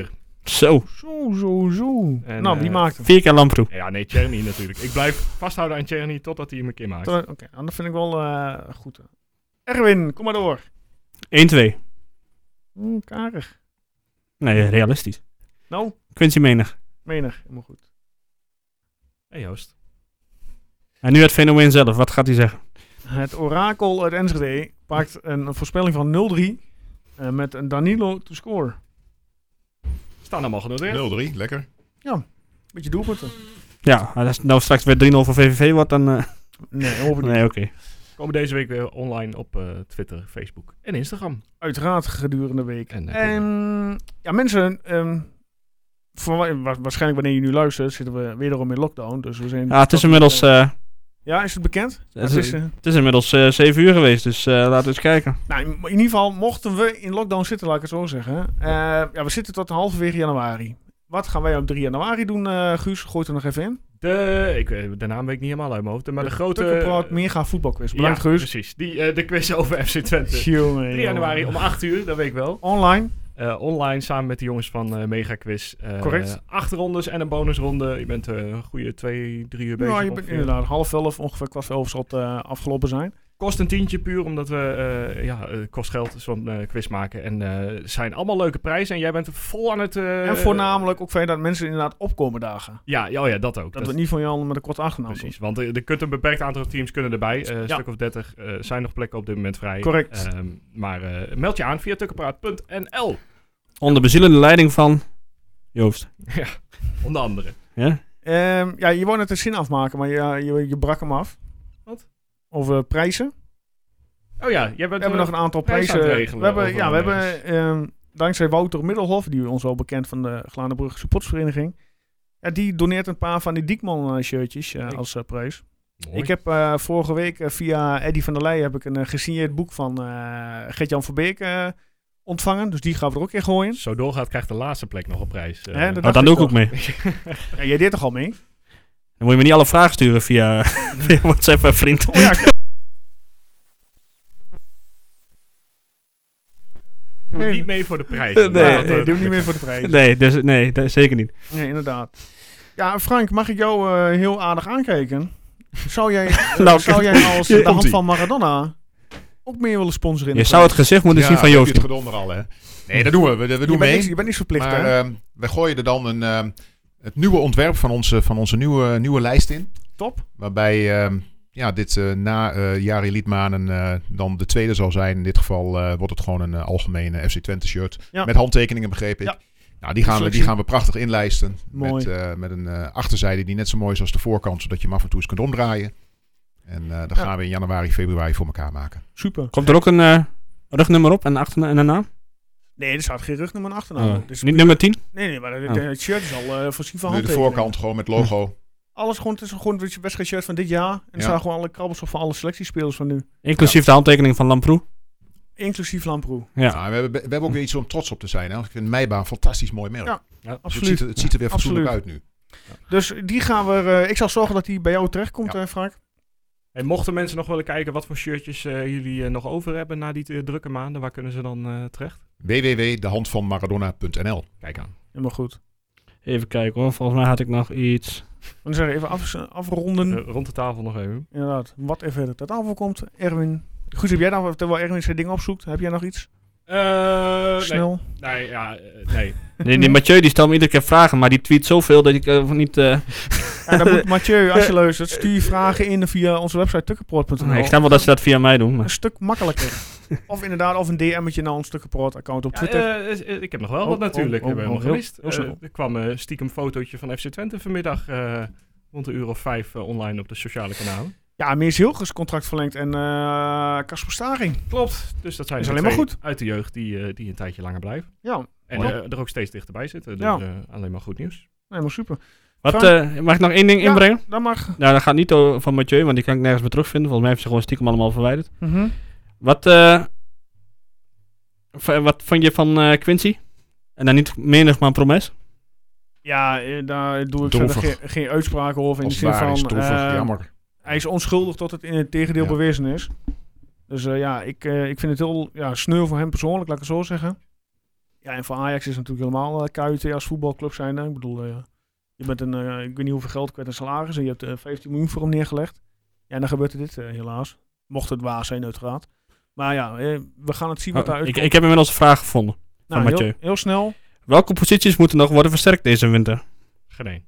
1-4.
Zo,
Zo, zo, zo.
En,
nou, wie
eh,
maakt hem?
vier keer Lamproe.
Ja, nee, Cherny natuurlijk. Ik blijf vasthouden aan Cherny totdat hij hem een keer maakt.
Oké, nou, dat vind ik wel eh, goed. Erwin, kom maar door.
1-2.
Oeh,
Mm,
karig.
Nee, realistisch.
Nou,
Quincy Menig.
menig. Helemaal goed.
Hey, Joost.
En nu het fenomeen zelf. Wat gaat hij zeggen?
Het orakel uit Enschede pakt een voorspelling van 0-3 eh, met een Danilo to score.
Staan allemaal genoteerd.
0-3, lekker.
Beetje doelpunten.
Ja, als het nou straks weer 3-0 voor VVV wordt, dan... eh,
Nee, hoop ik niet.
nee, oké.
Komen deze week weer online op eh, Twitter, Facebook en Instagram.
Uiteraard gedurende de week.
En, eh,
En ja, mensen, ehm, voor, wa- wa- waarschijnlijk wanneer je nu luistert, zitten we wederom in lockdown. Dus we zijn
Ah, het is inmiddels, eh,
ja, is het bekend?
het
Het
is,
is, eh,
het is inmiddels eh 7 uur geweest, dus eh, laten we eens kijken.
nou, in, in ieder geval, mochten we in lockdown zitten, laat ik het zo zeggen. Eh, ja, we zitten tot halverwege januari. Wat gaan wij op 3 januari doen, eh, Guus? Gooit er nog even in.
De, ik, weet- de naam weet ik niet helemaal uit mijn hoofd. Maar de, grote...
Tukkenproot Mega voetbalquiz. Bedankt,
ja,
Guus.
precies. Die, eh, de quiz over FC Twente.
Jongen,
3 januari om
jongen.
8 uur, dat weet ik wel.
Online.
Eh, online samen met de jongens van eh Mega Quiz. Eh,
Correct.
Acht rondes en een bonusronde. Je bent eh, een goede twee, drie uur bezig. eh,
Ja, je bent
ongeveer.
inderdaad half elf, ongeveer kwart voor elf zal het eh, afgelopen zijn.
Kost een tientje puur, omdat we, eh, ja, eh, kost geld zo'n eh, quiz maken. En eh, het zijn allemaal leuke prijzen. En jij bent vol aan het... eh,
en voornamelijk ook fijn dat mensen inderdaad opkomen dagen.
Ja, ja, oh ja, dat ook.
Dat we het niet van Jan met een korte achternaam
Precies, want eh, er kunt een beperkt aantal teams kunnen erbij. Eh, Een
Nou, Ja.
stuk of 30 eh, zijn nog plekken op dit moment vrij.
Correct.
Ehm, maar eh, meld je aan via tukkenpraat.nl,
Onder bezielende leiding van Joost.
onder andere.
Ja?
doen. Ehm, ja, je wou net een zin afmaken, maar je, je, je brak hem af.
Wat?
Over prijzen.
Oh ja, jij
We
bent...
hebben nog een aantal
prijzen
prijzen.
aan het regelen
we hebben,
over
ja, we
de
hebben ehm, dankzij Wouter Middelhof, die ons wel bekend van de Glanebrugge Supportsvereniging. Ja, die doneert een paar van die Diekman eh, shirtjes eh,
Kijk.
als eh, prijs.
Mooi.
Ik heb eh, vorige week eh, via Eddy van der Leij heb ik een eh, gesigneerd boek van eh Gert-Jan Verbeek eh, ontvangen. Dus die gaan we er ook in gooien.
Zo doorgaat, krijgt de laatste plek nog een prijs. eh.
Hè, dat-
Oh,
dacht
dan
ik
doe ik
toch.
ook mee.
Ja, jij deed toch al mee?
Dan moet je me niet alle vragen sturen via, via WhatsApp, eh, vriend.
Oh ja, ik-
Doe
nee.
Niet mee voor de prijs.
Nee,
nee,
Maar dat,
nee,
eh,
doe niet meer voor de prijs.
Nee, dus, nee dat- zeker niet.
Nee, inderdaad. Ja, Frank, mag ik jou eh, heel aardig aankijken? Zou jij, eh,
Nou,
zou jij als eh, de hand
Komt-ie.
van Maradona ook meer willen sponsoren? in
Je
de
zou het
prijs?
gezicht moeten zien van
heb je
Joost.
Het gedonder al, hè? Nee, dat doen we. We, we doen
je, bent
mee.
niks, je bent niks verplicht,
maar
hè?
ehm, wij gooien er dan een, ehm, het nieuwe ontwerp van onze, van onze nieuwe, nieuwe lijst in.
Top.
Waarbij ehm, ja, dit eh, na eh Jari Liedmanen eh, dan de tweede zal zijn. In dit geval eh, wordt het gewoon een eh, algemene FC Twente shirt.
Ja.
Met handtekeningen begreep ik.
Ja.
Nou, die gaan, we, die
Selectie.
gaan we prachtig inlijsten.
Mooi.
Met, eh, met een eh, achterzijde die net zo mooi is als de voorkant. Zodat je hem af en toe eens kunt omdraaien. En eh dat
Ja.
gaan we in januari, februari voor elkaar maken.
Super.
Komt er ook een eh, rugnummer op en, achterna- en een naam?
Nee, er staat geen rugnummer en achternaam.
Oh,
Ah,
op. Dus,
niet nummer 10?
nee, nee, maar
Oh.
het, het shirt is al eh voorzien van
Nu Ah. de
handtekeningen.
voorkant gewoon met logo.
Alles gewoon, het is gewoon het wedstrijdshirt van dit jaar. En er
Ja.
staan gewoon alle krabbels op van alle selectiespelers van nu.
Inclusief de handtekening van Lamproe.
Inclusief Lamproe.
Ja.
Nou, we, hebben, we hebben ook weer iets om trots op te zijn. Hè? Want Ik vind Meibaan een fantastisch mooi merk.
Ja,
Ja,
Dus het, ziet,
Absoluut.
er- het ziet er weer fatsoenlijk
Absoluut.
uit nu.
Dus die gaan we. eh, ik zal zorgen dat die bij jou terechtkomt,
Ja.
eh, Frank.
En mochten mensen nog willen kijken wat voor shirtjes eh, jullie eh, nog over hebben na die eh, drukke maanden, waar kunnen ze dan eh, terecht?
www.dehandvanmaradona.nl
Kijk aan.
Helemaal goed.
Even kijken hoor, volgens mij had ik nog iets.
Dan zeg ik even af- afronden.
Eh, rond de tafel nog even.
Inderdaad. Wat er verder ter tafel komt. Erwin. Goed, heb jij dan, terwijl Erwin zijn ding opzoekt, heb jij nog iets?
Eh, nee,
Snel.
nee, ja, eh, nee.
Nee, die Mathieu die stelt me iedere keer vragen, maar die tweet zoveel dat ik eh, niet... eh,
En dan moet Mathieu, als je luistert, stuur je vragen in via onze website tukkenpoort.nl.
ik snap wel dat ze dat via mij doen,
Een
maar...
stuk makkelijker. of inderdaad, of een DM'tje naar ons tukkenpoort-account op
Ja,
Twitter.
eh, is- eh, ik heb nog wel
Oh,
wat natuurlijk.
oh, oh,
hebben we
oh,
helemaal
heel-
gemist.
heel
Eh,
snel.
er kwam eh, stiekem een fotootje van FC Twente vanmiddag eh, rond een uur of vijf eh, online op de sociale kanalen.
Ja, Meers Hilgers contract verlengd en eh Kasper Staring.
Klopt. Dus dat zijn
Is
de
alleen maar
twee
goed.
uit de jeugd die, eh, die een tijdje langer blijven.
Ja,
En
Mooi.
eh, er ook steeds dichterbij zitten. Dus
Ja.
eh, alleen maar goed nieuws.
helemaal super.
Wat,
Frank?
eh, mag ik nog één ding
Ja.
inbrengen?
Dat mag.
Nou, dat gaat niet over- van Mathieu, want die kan ik nergens meer terugvinden. Volgens mij heeft ze gewoon stiekem allemaal verwijderd.
Mhm.
Wat, eh, v- wat vond je van eh, Quincy? En dan niet menig, maar promes.
Ja, eh, daar doe ik
Droevig.
verder geen, geen uitspraken over. In
Als
de
het
zin
waar
van,
is, droevig,
eh,
jammer.
hij is onschuldig tot het in het tegendeel
Ja.
bewezen is. Dus eh, ja, ik, eh, ik vind het heel ja, sneu voor hem persoonlijk, laat ik het zo zeggen. Ja, en voor Ajax is het natuurlijk helemaal eh KUT als voetbalclub zijn. Ik bedoel, eh, je bent een, eh, ik weet niet hoeveel geld kwijt aan salaris en je hebt eh, 15 miljoen voor hem neergelegd. Ja, en dan gebeurt er dit eh, helaas. Mocht het waar zijn, uiteraard. Maar ja, eh, we gaan het zien wat
Oh,
Nou,
daaruit
ik,
komt.
ik heb inmiddels een vraag gevonden.
Nou, heel,
van Mathieu.
heel snel.
Welke posities moeten nog worden versterkt deze winter?
Geen één.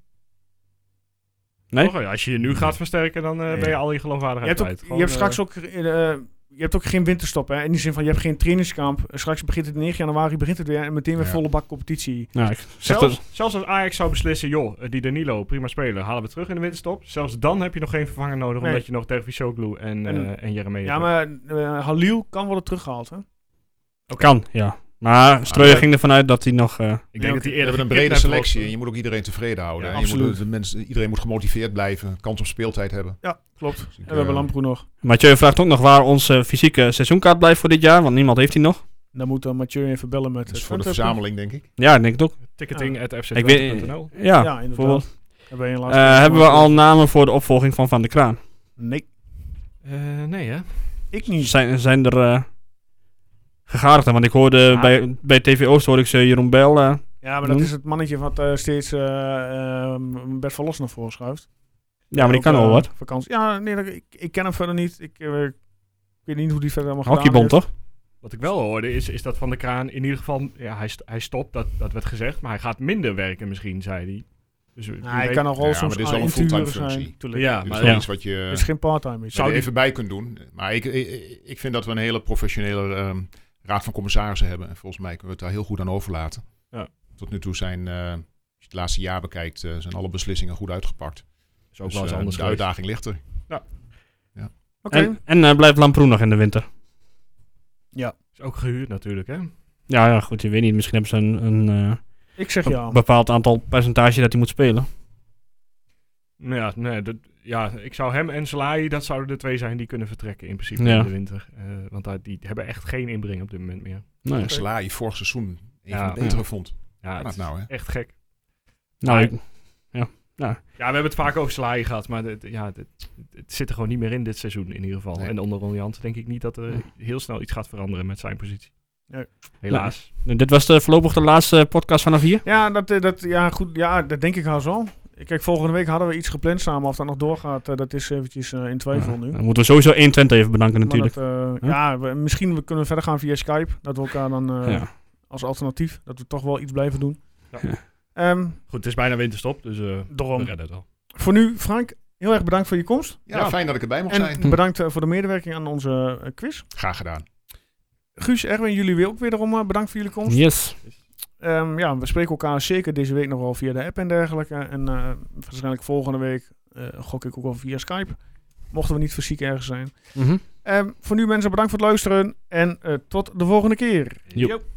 Nee?
Toch, ja, als je je nu gaat versterken, dan eh,
Nee.
ben je al je
Je
geloofwaardigheid
hebt, ook-
kwijt.
je hebt straks ook... eh, je hebt ook geen winterstop, hè? In die zin van, je hebt geen trainingskamp. Eh, Straks begint het 9 januari, begint het weer. En meteen weer
Ja.
volle bak competitie.
Nou, ik zeg
Zelfs,
dat,
zelfs als Ajax zou beslissen, joh, eh, die Danilo, prima speler, halen we terug in de winterstop. Zelfs dan heb je nog geen vervanger nodig,
Nee.
omdat je nog Dervisoglu en, en,
En-
en Jeremia
Ja,
hebt.
maar eh, Halil kan worden teruggehaald, hè?
kan, ja. Maar Streuer
Ah, ja.
ging ervan uit dat hij nog... eh,
Ik
denk
denk
dat
dat
die eerder
die eerder een
gekidnapt
brede
wordt.
selectie en je moet ook iedereen tevreden houden.
Ja,
En je moet-
absoluut.
de mensen, iedereen moet gemotiveerd blijven, kans op speeltijd hebben.
Ja, klopt.
Dus ik,
En we hebben
eh,
Lamproe nog.
Mathieu vraagt ook nog waar onze eh, fysieke seizoenkaart blijft voor dit jaar, want niemand heeft die nog.
Dan moet dan Mathieu even bellen met...
dat is
het
voor de
Twente.
verzameling, denk ik.
Ja, ik denk het ook.
Ticketing at FC
Ik weet,
Twente.nl.
ja,
Ja, inderdaad.
bijvoorbeeld.
Hebben we, een laatste
Eh, hebben we
vraag?
al namen voor de opvolging van Van der Kraan?
Nee,
Eh, nee, hè?
ik niet.
Zijn, zijn er eh gegadigden? Want ik hoorde
Ah.
bij, bij TV Oost hoorde ik ze Jeroen Bijl. eh,
Ja, maar dat
Noem.
is het mannetje wat eh, steeds eh, ehm, Bert van Los naar voren schuift.
ja, maar die
Ook,
kan wel
eh,
wat.
Vakantie. Ja, nee, dat- ik, ik ken hem verder niet. Ik, eh, ik weet niet hoe die verder allemaal gedaan
Hockeybond,
heeft.
toch?
Wat ik wel hoorde is, is dat Van der Kraan in ieder geval... Ja, hij, st- hij stopt, dat, dat werd gezegd. Maar hij gaat minder werken misschien, zei hij. Dus, wie
Nou, hij
weet-
kan nog wel
Ja, maar
soms
dit is wel een
aan
fulltime
interieur zijn.
functie.
Tuurlijk.
Ja,
Dus
maar
dat
ja.
is iets wat je
Het is geen part-time. iets.
Zou
zou
die-
er even bij kunt doen. Maar ik, ik, ik vind dat we een hele professionele ehm, raad van commissarissen hebben. En volgens mij kunnen we het daar heel goed aan overlaten.
Ja.
Tot nu toe zijn, eh, als je het laatste jaar bekijkt, eh, zijn alle beslissingen goed uitgepakt.
is ook
Dus,
wel eens
eh,
anders
de
geweest.
uitdaging ligt er.
Oké.
En, en eh, blijft Lamproen nog in de winter?
Is ook gehuurd natuurlijk, hè?
Ja, ja, goed, je weet niet. Misschien hebben ze een, een eh,
Ik zeg ja.
bepaald aantal percentage dat hij moet spelen.
Nou Ja, nee, dat, ja, ik zou hem en Salahi, dat zouden de twee zijn die kunnen vertrekken in principe
Ja.
in de winter. Eh, want daar, die hebben echt geen inbreng op dit moment meer.
Nou, ja.
Okay. Slaai vorig seizoen een
Ja.
van de betere vond.
Ja,
Kan
het
dat
is
nou, hè?
echt gek.
Nou, ik-
Ja, we hebben het vaak over Salahi gehad, maar dit- ja, dit- het zit er gewoon niet meer in dit seizoen in ieder geval.
Nee.
En onder Ron Jans denk ik niet dat er heel snel iets gaat veranderen met zijn positie.
Nee.
Helaas.
dit was de, voorlopig de laatste podcast vanaf hier.
Ja, dat, eh, dat, ja, goed, ja, dat denk ik haast wel. Kijk, volgende week hadden we iets gepland samen. Of dat nog doorgaat, eh, dat is eventjes eh, in twijfel nu.
Dan moeten we sowieso 1 Twente even bedanken
Maar
natuurlijk.
dat, eh,
Huh?
Ja, we- misschien we kunnen we verder gaan via Skype. Dat we elkaar dan eh,
ja.
als alternatief, dat we toch wel iets blijven doen.
Ja.
Ehm,
Goed, het is bijna winterstop, dus eh we
daarom.
redden het al.
Voor nu, Frank, heel erg bedankt voor je komst.
Ja,
Ja.
fijn dat ik erbij mocht
En
zijn.
bedankt eh, voor de medewerking aan onze eh, quiz.
Graag gedaan.
Guus, Erwin, jullie weer ook wederom eh, bedankt voor jullie komst.
Yes.
Ehm, ja, we spreken elkaar zeker deze week nog wel via de app en dergelijke. En eh, waarschijnlijk volgende week eh, gok ik ook wel via Skype. Mochten we niet fysiek ergens zijn.
Mhm.
Ehm, voor nu mensen, bedankt voor het luisteren. En eh, tot de volgende keer.
Joep.
Joep.